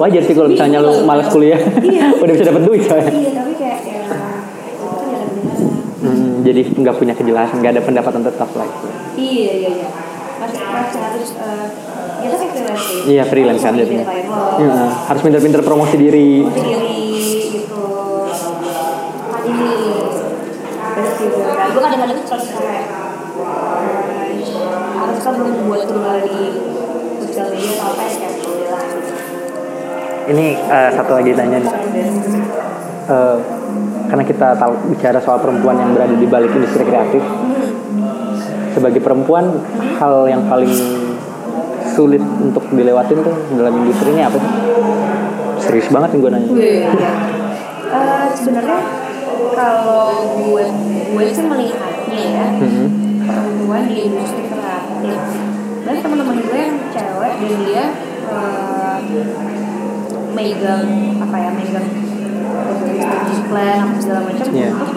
Wajar sih kalau misalnya lu malas kuliah, Iya. udah bisa dapat duit soalnya. iya tapi kayak ya itu ya ada beneran. Hmm, jadi nggak punya kejelasan, nggak ada pendapatan tetap lah. itu. Iya iya iya. Masih masih harus eh kita kayak freelance. sih. gitu. Iya freelance kan Harus jadinya. nyeritain lo, Iya, harus pinter-pinter promosi diri. Sendiri gitu. Kan ini bener sih gue. Nah, gue kadang-kadang tuh selalu kayak eh, harus kan belum buat keluar di sosial media atau apa ya kayak boleh lah. Ini eh, satu lagi tanya nih. Eh, karena kita tahu bicara soal perempuan yang berada di balik industri kreatif. Sebagai perempuan, hal yang paling sulit untuk dilewatin tuh dalam industri ini apa sih? Serius banget nih gue nanya. Iya. Eh, Sebenarnya kalau gue gue sih melihatnya ya Mhm. perempuan di industri kreatif. Banyak teman-teman gue yang cewek dan dia eh, megang apa ya megang bisnis plan apa segala macam Iya. untuk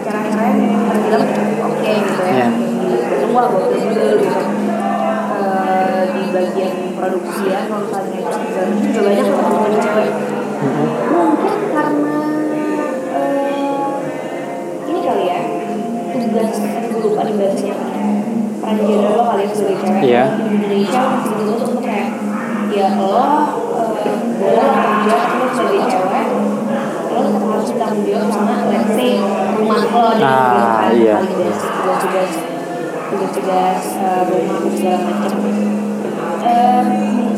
acara-acara yang terbilang oke gitu ya. Iya. Yang Wah gue dulu gitu. Eh, di bagian produksi ya kalau misalnya itu segala macam juga banyak teman-teman cewek mungkin karena eh, ini kali ya tugas aduh gue lupa nih bahasanya apa nih. peran gender lo kali ya sebagai cewek ya, Iya. di Indonesia masih dituntut untuk kayak ya lo eh, boleh lah kerja cuma sebagai cewek lo tetap harus bertanggung jawab sama let's say rumah lo kan? dan Ah, kegiatan iya. paling basic tugas-tugas tugas-tugas eh, rumah dan segala macam Eh,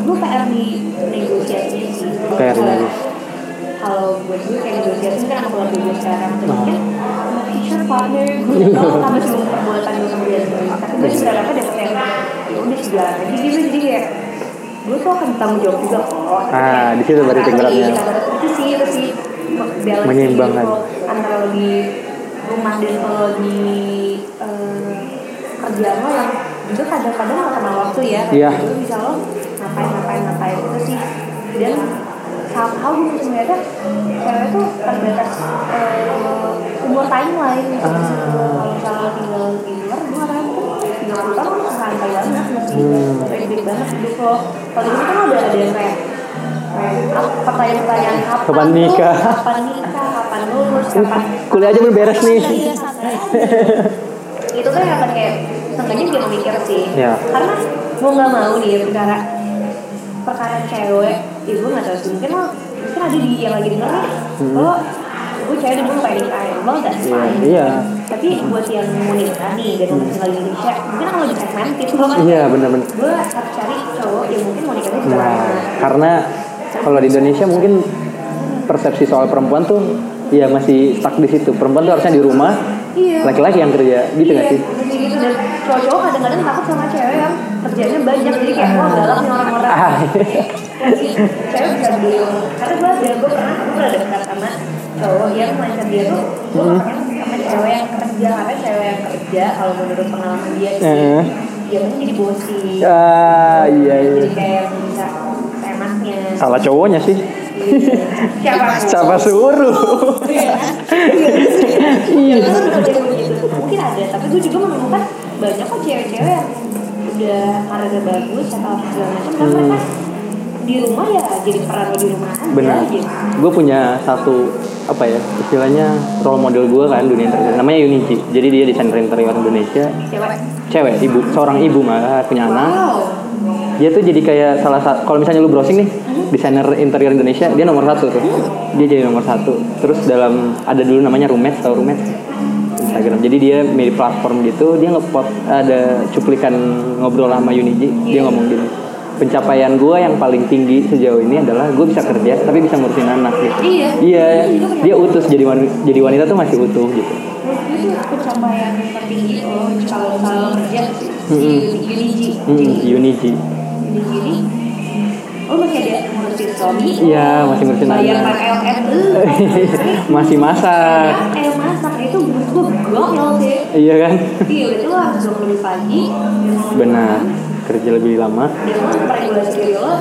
gue PR di negosiasinya sih PR di negosiasi. kalau gue dulu kayak negosiasi kan aku lebih gue sekarang tuh Nah. kan future partner gue tau tambah sebelum perbuatan gue kemudian tapi gue sudah dapat dapet yang ya udah segala jadi gitu jadi kayak gue tuh akan tanggung jawab juga kok Ah, di situ berarti Tapi tenggelamnya. kita tetap- itu sih itu sih balance Menyeimbangkan. gitu, antara lo di rumah dan lo di eh, kerjaan lo yang juga kadang-kadang gak kenal waktu ya Iya. Lo bisa lo ngapain ngapain ngapain itu sih dan somehow gue bisa ngeliatnya cewek tuh terbatas eh, umur timeline gitu Ah. kalau misalnya lo tinggal di luar gue nggak tahu gitu. tinggal di luar gitu lo santai banget masih hmm. banget hidup lo kalau di sini kan ada ada yang kayak eh, Ah, pertanyaan-pertanyaan kapan, Kapan lu? nikah? kapan nikah, kapan lulus, kapan Kuliah aja belum beres nih. Iya, santai aja. itu kan akan kayak sengaja bikin mikir sih Iya. karena mau nggak mau nih perkara perkara cewek ya gue nggak tahu sih mungkin lo mungkin ada di yang lagi denger nih lo gue cewek dulu pengen nikah lo udah Hmm. Iya, fine iya. Hmm. tapi buat yang mau nikah nih dan mau tinggal di Indonesia mungkin akan lebih segmented lo kan Iya, benar-benar. gue harus cari cowok yang mungkin mau nikahnya juga Nah, karena kalau di Indonesia mungkin persepsi soal perempuan tuh ya masih stuck di situ. Perempuan tuh harusnya di rumah, Iya. laki-laki yang kerja, gitu nggak Iya, sih? bener gitu. Dan cowok-cowok kadang-kadang takut sama cewek yang kerjanya banyak jadi kayak wah galak nih orang-orang. Ah. Jadi, cewek bisa beli karena gue ada gue pernah gue pernah dekat sama cowok yang mindset dia tuh gue Hmm. nggak pengen sama cewek yang kerja karena cewek yang kerja kalau menurut pengalaman dia sih Eh. dia kan jadi bosi. Ah, iya, iya. Jadi kayak yang bisa enaknya. Salah cowoknya sih. Siapa? Siapa suruh? Iya. Iya. Itu kan udah kayak begitu. Mungkin ada, tapi gue juga menemukan banyak kok cewek-cewek yang udah karirnya bagus atau apa segala macam, tapi Hmm. mereka di rumah ya jadi peran lo di rumah aja. Benar. gitu. Gue punya satu apa ya istilahnya role model gue kan dunia interior. Namanya Yunichi. Jadi dia desainer interior Indonesia. Cewek. Cewek, ibu, seorang ibu malah punya anak. Wow. dia tuh jadi kayak salah satu kalau misalnya lu browsing nih desainer interior Indonesia dia nomor satu tuh dia jadi nomor satu terus dalam ada dulu namanya Rumet atau Rumet Instagram jadi dia mirip platform gitu dia ngepot ada cuplikan ngobrol sama Yuniji dia ngomong gini pencapaian gue yang paling tinggi sejauh ini adalah gue bisa kerja tapi bisa ngurusin anak gitu Iya. iya dia utus jadi wanita, jadi wanita tuh masih utuh gitu Menurut gue itu pencapaian tertinggi lo kalau kalau kerja sih. Mm-mm. Uniji. hmm, Yuniji Uniji ini lo Oh, masih ada ngurusin suami. Iya, masih ngurusin bayar anak. PLN lu. masih Kadang masak kayak Iya, masak itu menurut gue gokil sih iya kan Iya itu lo harus 20 pagi dan lo benar kerja lebih lama Dan lo meregulasi diri lo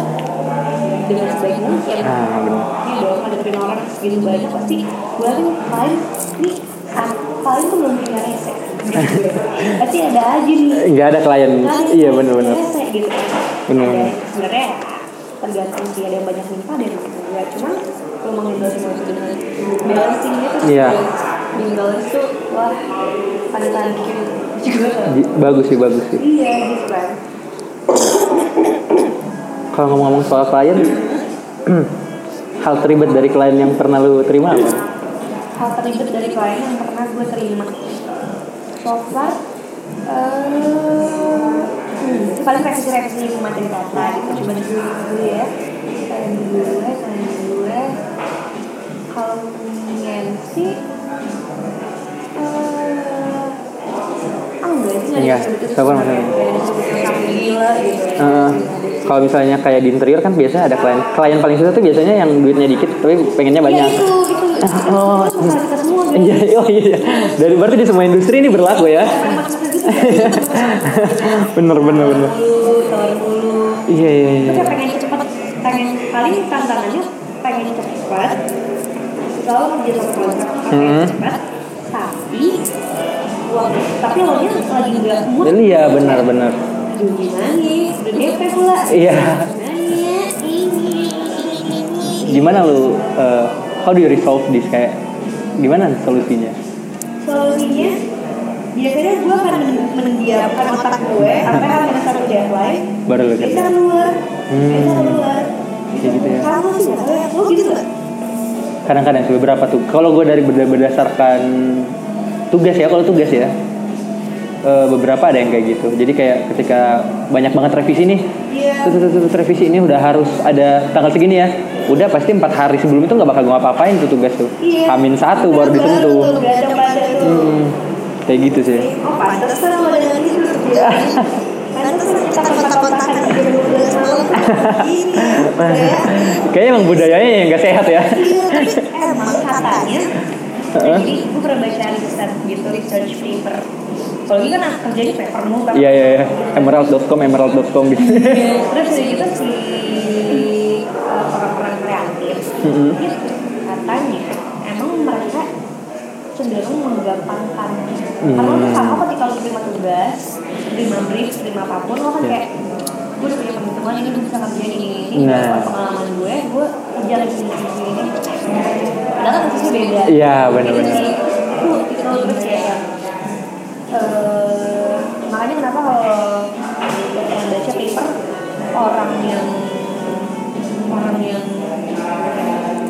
dengan sebaik mungkin ah benar Ini dong ngadepin orang segitu banyak pasti Gue yakin paling Ini sa- paling tuh belum punya rese Gitu. Pasti ada aja nih nggak ada klien Kan, iya benar-benar rese gitu Benar-benar. Ada- Sebenarnya tergantung sih ada yang banyak minta dan yang enggak Cuman lo mengendalikan waktu dengan balancing gitu Iya. Being balance tuh wah ada gitu. tanding juga Di- bagus sih bagus sih Iya gitu kan kalau ngomong-ngomong soal klien hmm, hal terlibat dari klien yang pernah lu terima apa hal terlibat dari klien yang pernah gue terima so far eh, hmm, paling revisi revisi materi data gitu coba dulu dulu ya klien gue klien gue kalau pengen sih eh, ah enggak sih Iya, nggak ada yang disebut-sebut sabar, sama Mas. kayak nggak ada yang disebut-sebut sama gila gitu ya. Eh, kalau misalnya kayak di interior kan biasanya ada klien klien paling susah tuh biasanya yang duitnya dikit tapi pengennya Iya banyak itu, itu. Oh, Itu kan bukan kita semua, gitu. guys. iya oh iya dari berarti di semua industri ini berlaku ya gitu. bener bener bener Dulu, tawar dulu. iya iya Gue iya kayak Iya. pengen cepet pengen paling tantangannya pengen cepet selalu kerja sama keluarga pengen Mhm. cepet tapi uang tapi lo nya lagi nggak mood Dan iya benar benar Aduh, gimana nih udah DP pula Iya. gimana ini ini ini gimana lu eh, how do you resolve this kayak gimana solusinya solusinya biasanya gue akan men- mendiamkan otak gue sampai hampir satu deadline baru lu bisa kerja keluar bisa Hmm. keluar Kayak gitu ya. kamu sih nggak tahu ya. lo gitu nggak kadang-kadang sih beberapa tuh kalau gue dari berda- berdasarkan tugas ya kalau tugas ya eh, beberapa ada yang kayak gitu jadi kayak ketika banyak banget revisi nih Iya. tut, tut, tut, tut, revisi ini udah harus ada tanggal segini ya udah pasti empat hari sebelum itu nggak bakal gue ngapa-ngapain tuh tugas tuh Iya. amin satu baru tuh, disentuh nggak ada pada tuh. Hmm, kayak gitu sih Oh, pantesan lo dengan itu. Pantesan kita kontak-kontakan di jam 12 malam. Gini. Kayak, kayaknya emang budayanya yang nggak sehat ya iya, tapi emang katanya. Jadi, gue pernah baca riset gitu, research paper. Kalau ini kan kerjanya paper mulu kan. iya iya iya emerald.com emerald.com gitu Terus dari itu si uh, orang-orang kreatif Mhm. itu katanya emang mereka cenderung menggampangkan karena lu sama ketika lu terima tugas, terima brief, terima apapun lo kan kayak gue udah punya perhitungan ini gue bisa ngerjain ini ini ini Nah. nah. pengalaman gue gue kerjain di sini sini ini padahal kan prosesnya beda Iya, Jadi benar-benar. sih, itu tipikal gue kayak yang, eh, makanya kenapa kalau gue pernah baca paper orang yang orang yang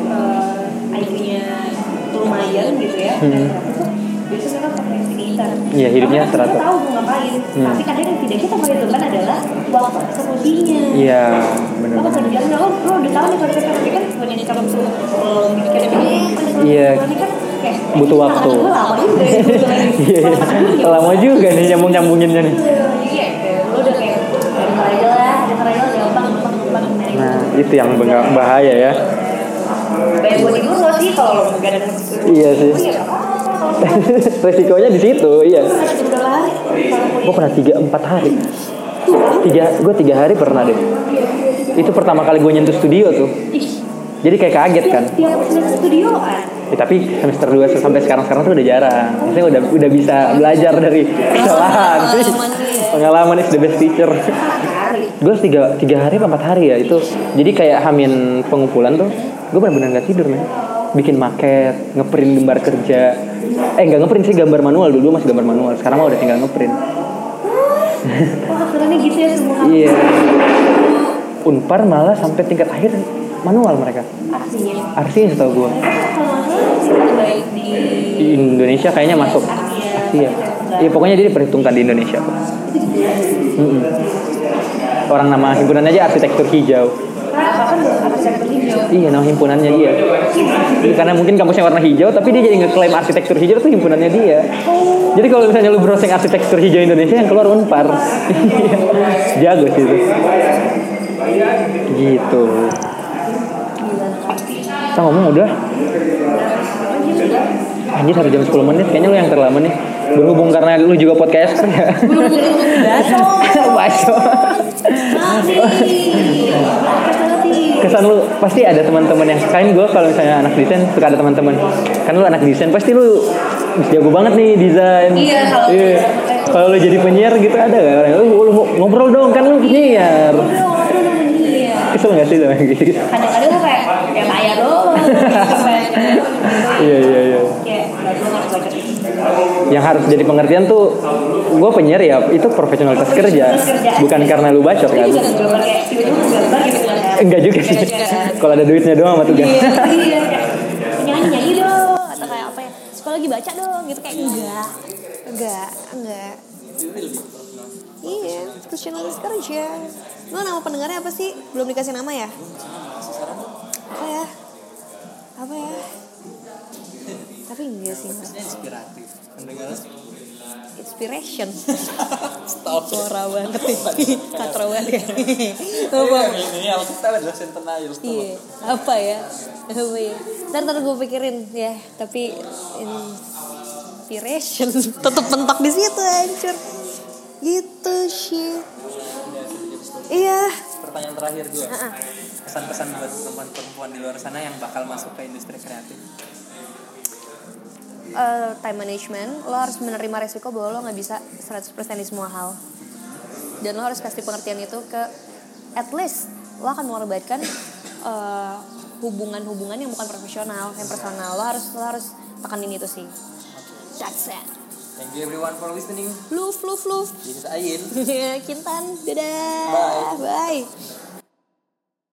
eh, IQ-nya lumayan gitu ya Hmm. biasanya kan mereka procrastinator Iya, hidupnya Karena kan teratur. kita tahu mau ngapain Hmm. tapi kadang yang tidak kita perhitungkan adalah waktu eksekusinya Iya, lo benar-benar. pekerjaan lo lo udah tahu nih konsep kerja kan sebenarnya nih kalau misalnya lo mikirin eh, ini konsep Iya. ini kan kayak Butuh ini waktu. tangan gue lama juga ya, gue bilang. Iya, iya. lama juga nih nyambung nyambunginnya nih. Iya, kayak lo udah kayak denger aja lah denger aja lah gampang gampang gampang Nah, Nah, itu yang bengga- bahaya ya. banyak gue tidur lo sih kalau lo nggak ada Iya sih. Iya, nggak apa-apa. Kalau lo Resikonya di situ, iya. nggak ada jam dua hari, kalau lo Gue pernah tiga empat hari. Tiga, gue tiga hari pernah deh. Itu pertama kali gue nyentuh studio tuh. Jadi kayak kaget kan. tiap ah, semester studioan Ya, tapi semester 2 sampai sekarang-sekarang tuh udah jarang. Maksudnya udah udah bisa belajar dari kesalahan. Pengalaman tuh ya. Pengalaman is the best teacher. Gue tiga, tiga hari apa empat hari ya itu. Jadi kayak hamin pengumpulan tuh, gue benar-benar nggak tidur men. Bikin maket, ngeprint gambar kerja. Eh nggak ngeprint sih gambar manual dulu masih gambar manual. Sekarang mah udah tinggal ngeprint. Wah, aturannya gitu ya semua Iya. Unpar malah sampai tingkat akhir manual mereka. artinya Arsinya setahu gue. kalau nggak salah sih terbaik di Di Indonesia kayaknya masuk. Iya. Ya pokoknya jadi perhitungkan di Indonesia. Mm-mm. Orang nama himpunan aja arsitektur hijau. karena bahkan bukan arsitektur hijau Iya, nama himpunannya dia. Karena mungkin kampusnya warna hijau, tapi dia jadi ngeklaim arsitektur hijau itu himpunannya dia. Jadi kalau misalnya lu browsing arsitektur hijau Indonesia yang keluar unpar. Iya. Jago sih itu. Gitu. Kita ngomong udah. Anjir harus jam 10 menit, kayaknya lu yang terlama nih. Berhubung karena lu juga podcaster ya. Baso. Baso. kesan lu pasti ada teman-teman yang kain gue kalau misalnya anak desain suka ada teman-teman kan lu anak desain pasti lu jago banget nih desain Iya, kalau- kalau lu jadi penyiar gitu ada gak orang lu, lu ngobrol dong kan lu penyiar kesel gak sih lu gitu gitu kadang-kadang tuh kayak ya kaya doang iya iya iya kayak nggak gue harus baca yang harus jadi pengertian tuh gue penyiar ya itu profesionalitas kerja bukan karena lu bacot Ini kan juga gambar kayak tiba-tiba gambar gitu kan enggak juga sih kalau ada duitnya doang sama tugas Iya, iya. nyanyi nyanyi dong atau kayak apa ya sekolah lagi baca dong gitu kayak enggak enggak enggak iya profesionalis kerja lo nama pendengarnya apa sih belum dikasih nama ya apa ya apa ya tapi enggak sih maksudnya inspiratif inspiration Stop. Suara banget nih. Katro banget. Apa? Iya, apa ya? Apa ya? Ntar, ntar gue pikirin ya, tapi inspiration tetep mentok di situ hancur. Gitu shit. Iya, pertanyaan terakhir gue pesan-pesan buat perempuan-perempuan di luar sana yang bakal masuk ke industri kreatif eh, time management, lo harus menerima resiko bahwa lo nggak bisa 100% di semua hal. Dan lo harus kasih pengertian itu ke at least lo akan mengorbankan eh, hubungan-hubungan yang bukan profesional, yang personal. Lo harus lo harus tekanin itu sih. That's it. thank you everyone for listening Luf, luf, luf. this is Ayin Kintan, dadah. Bye. Bye.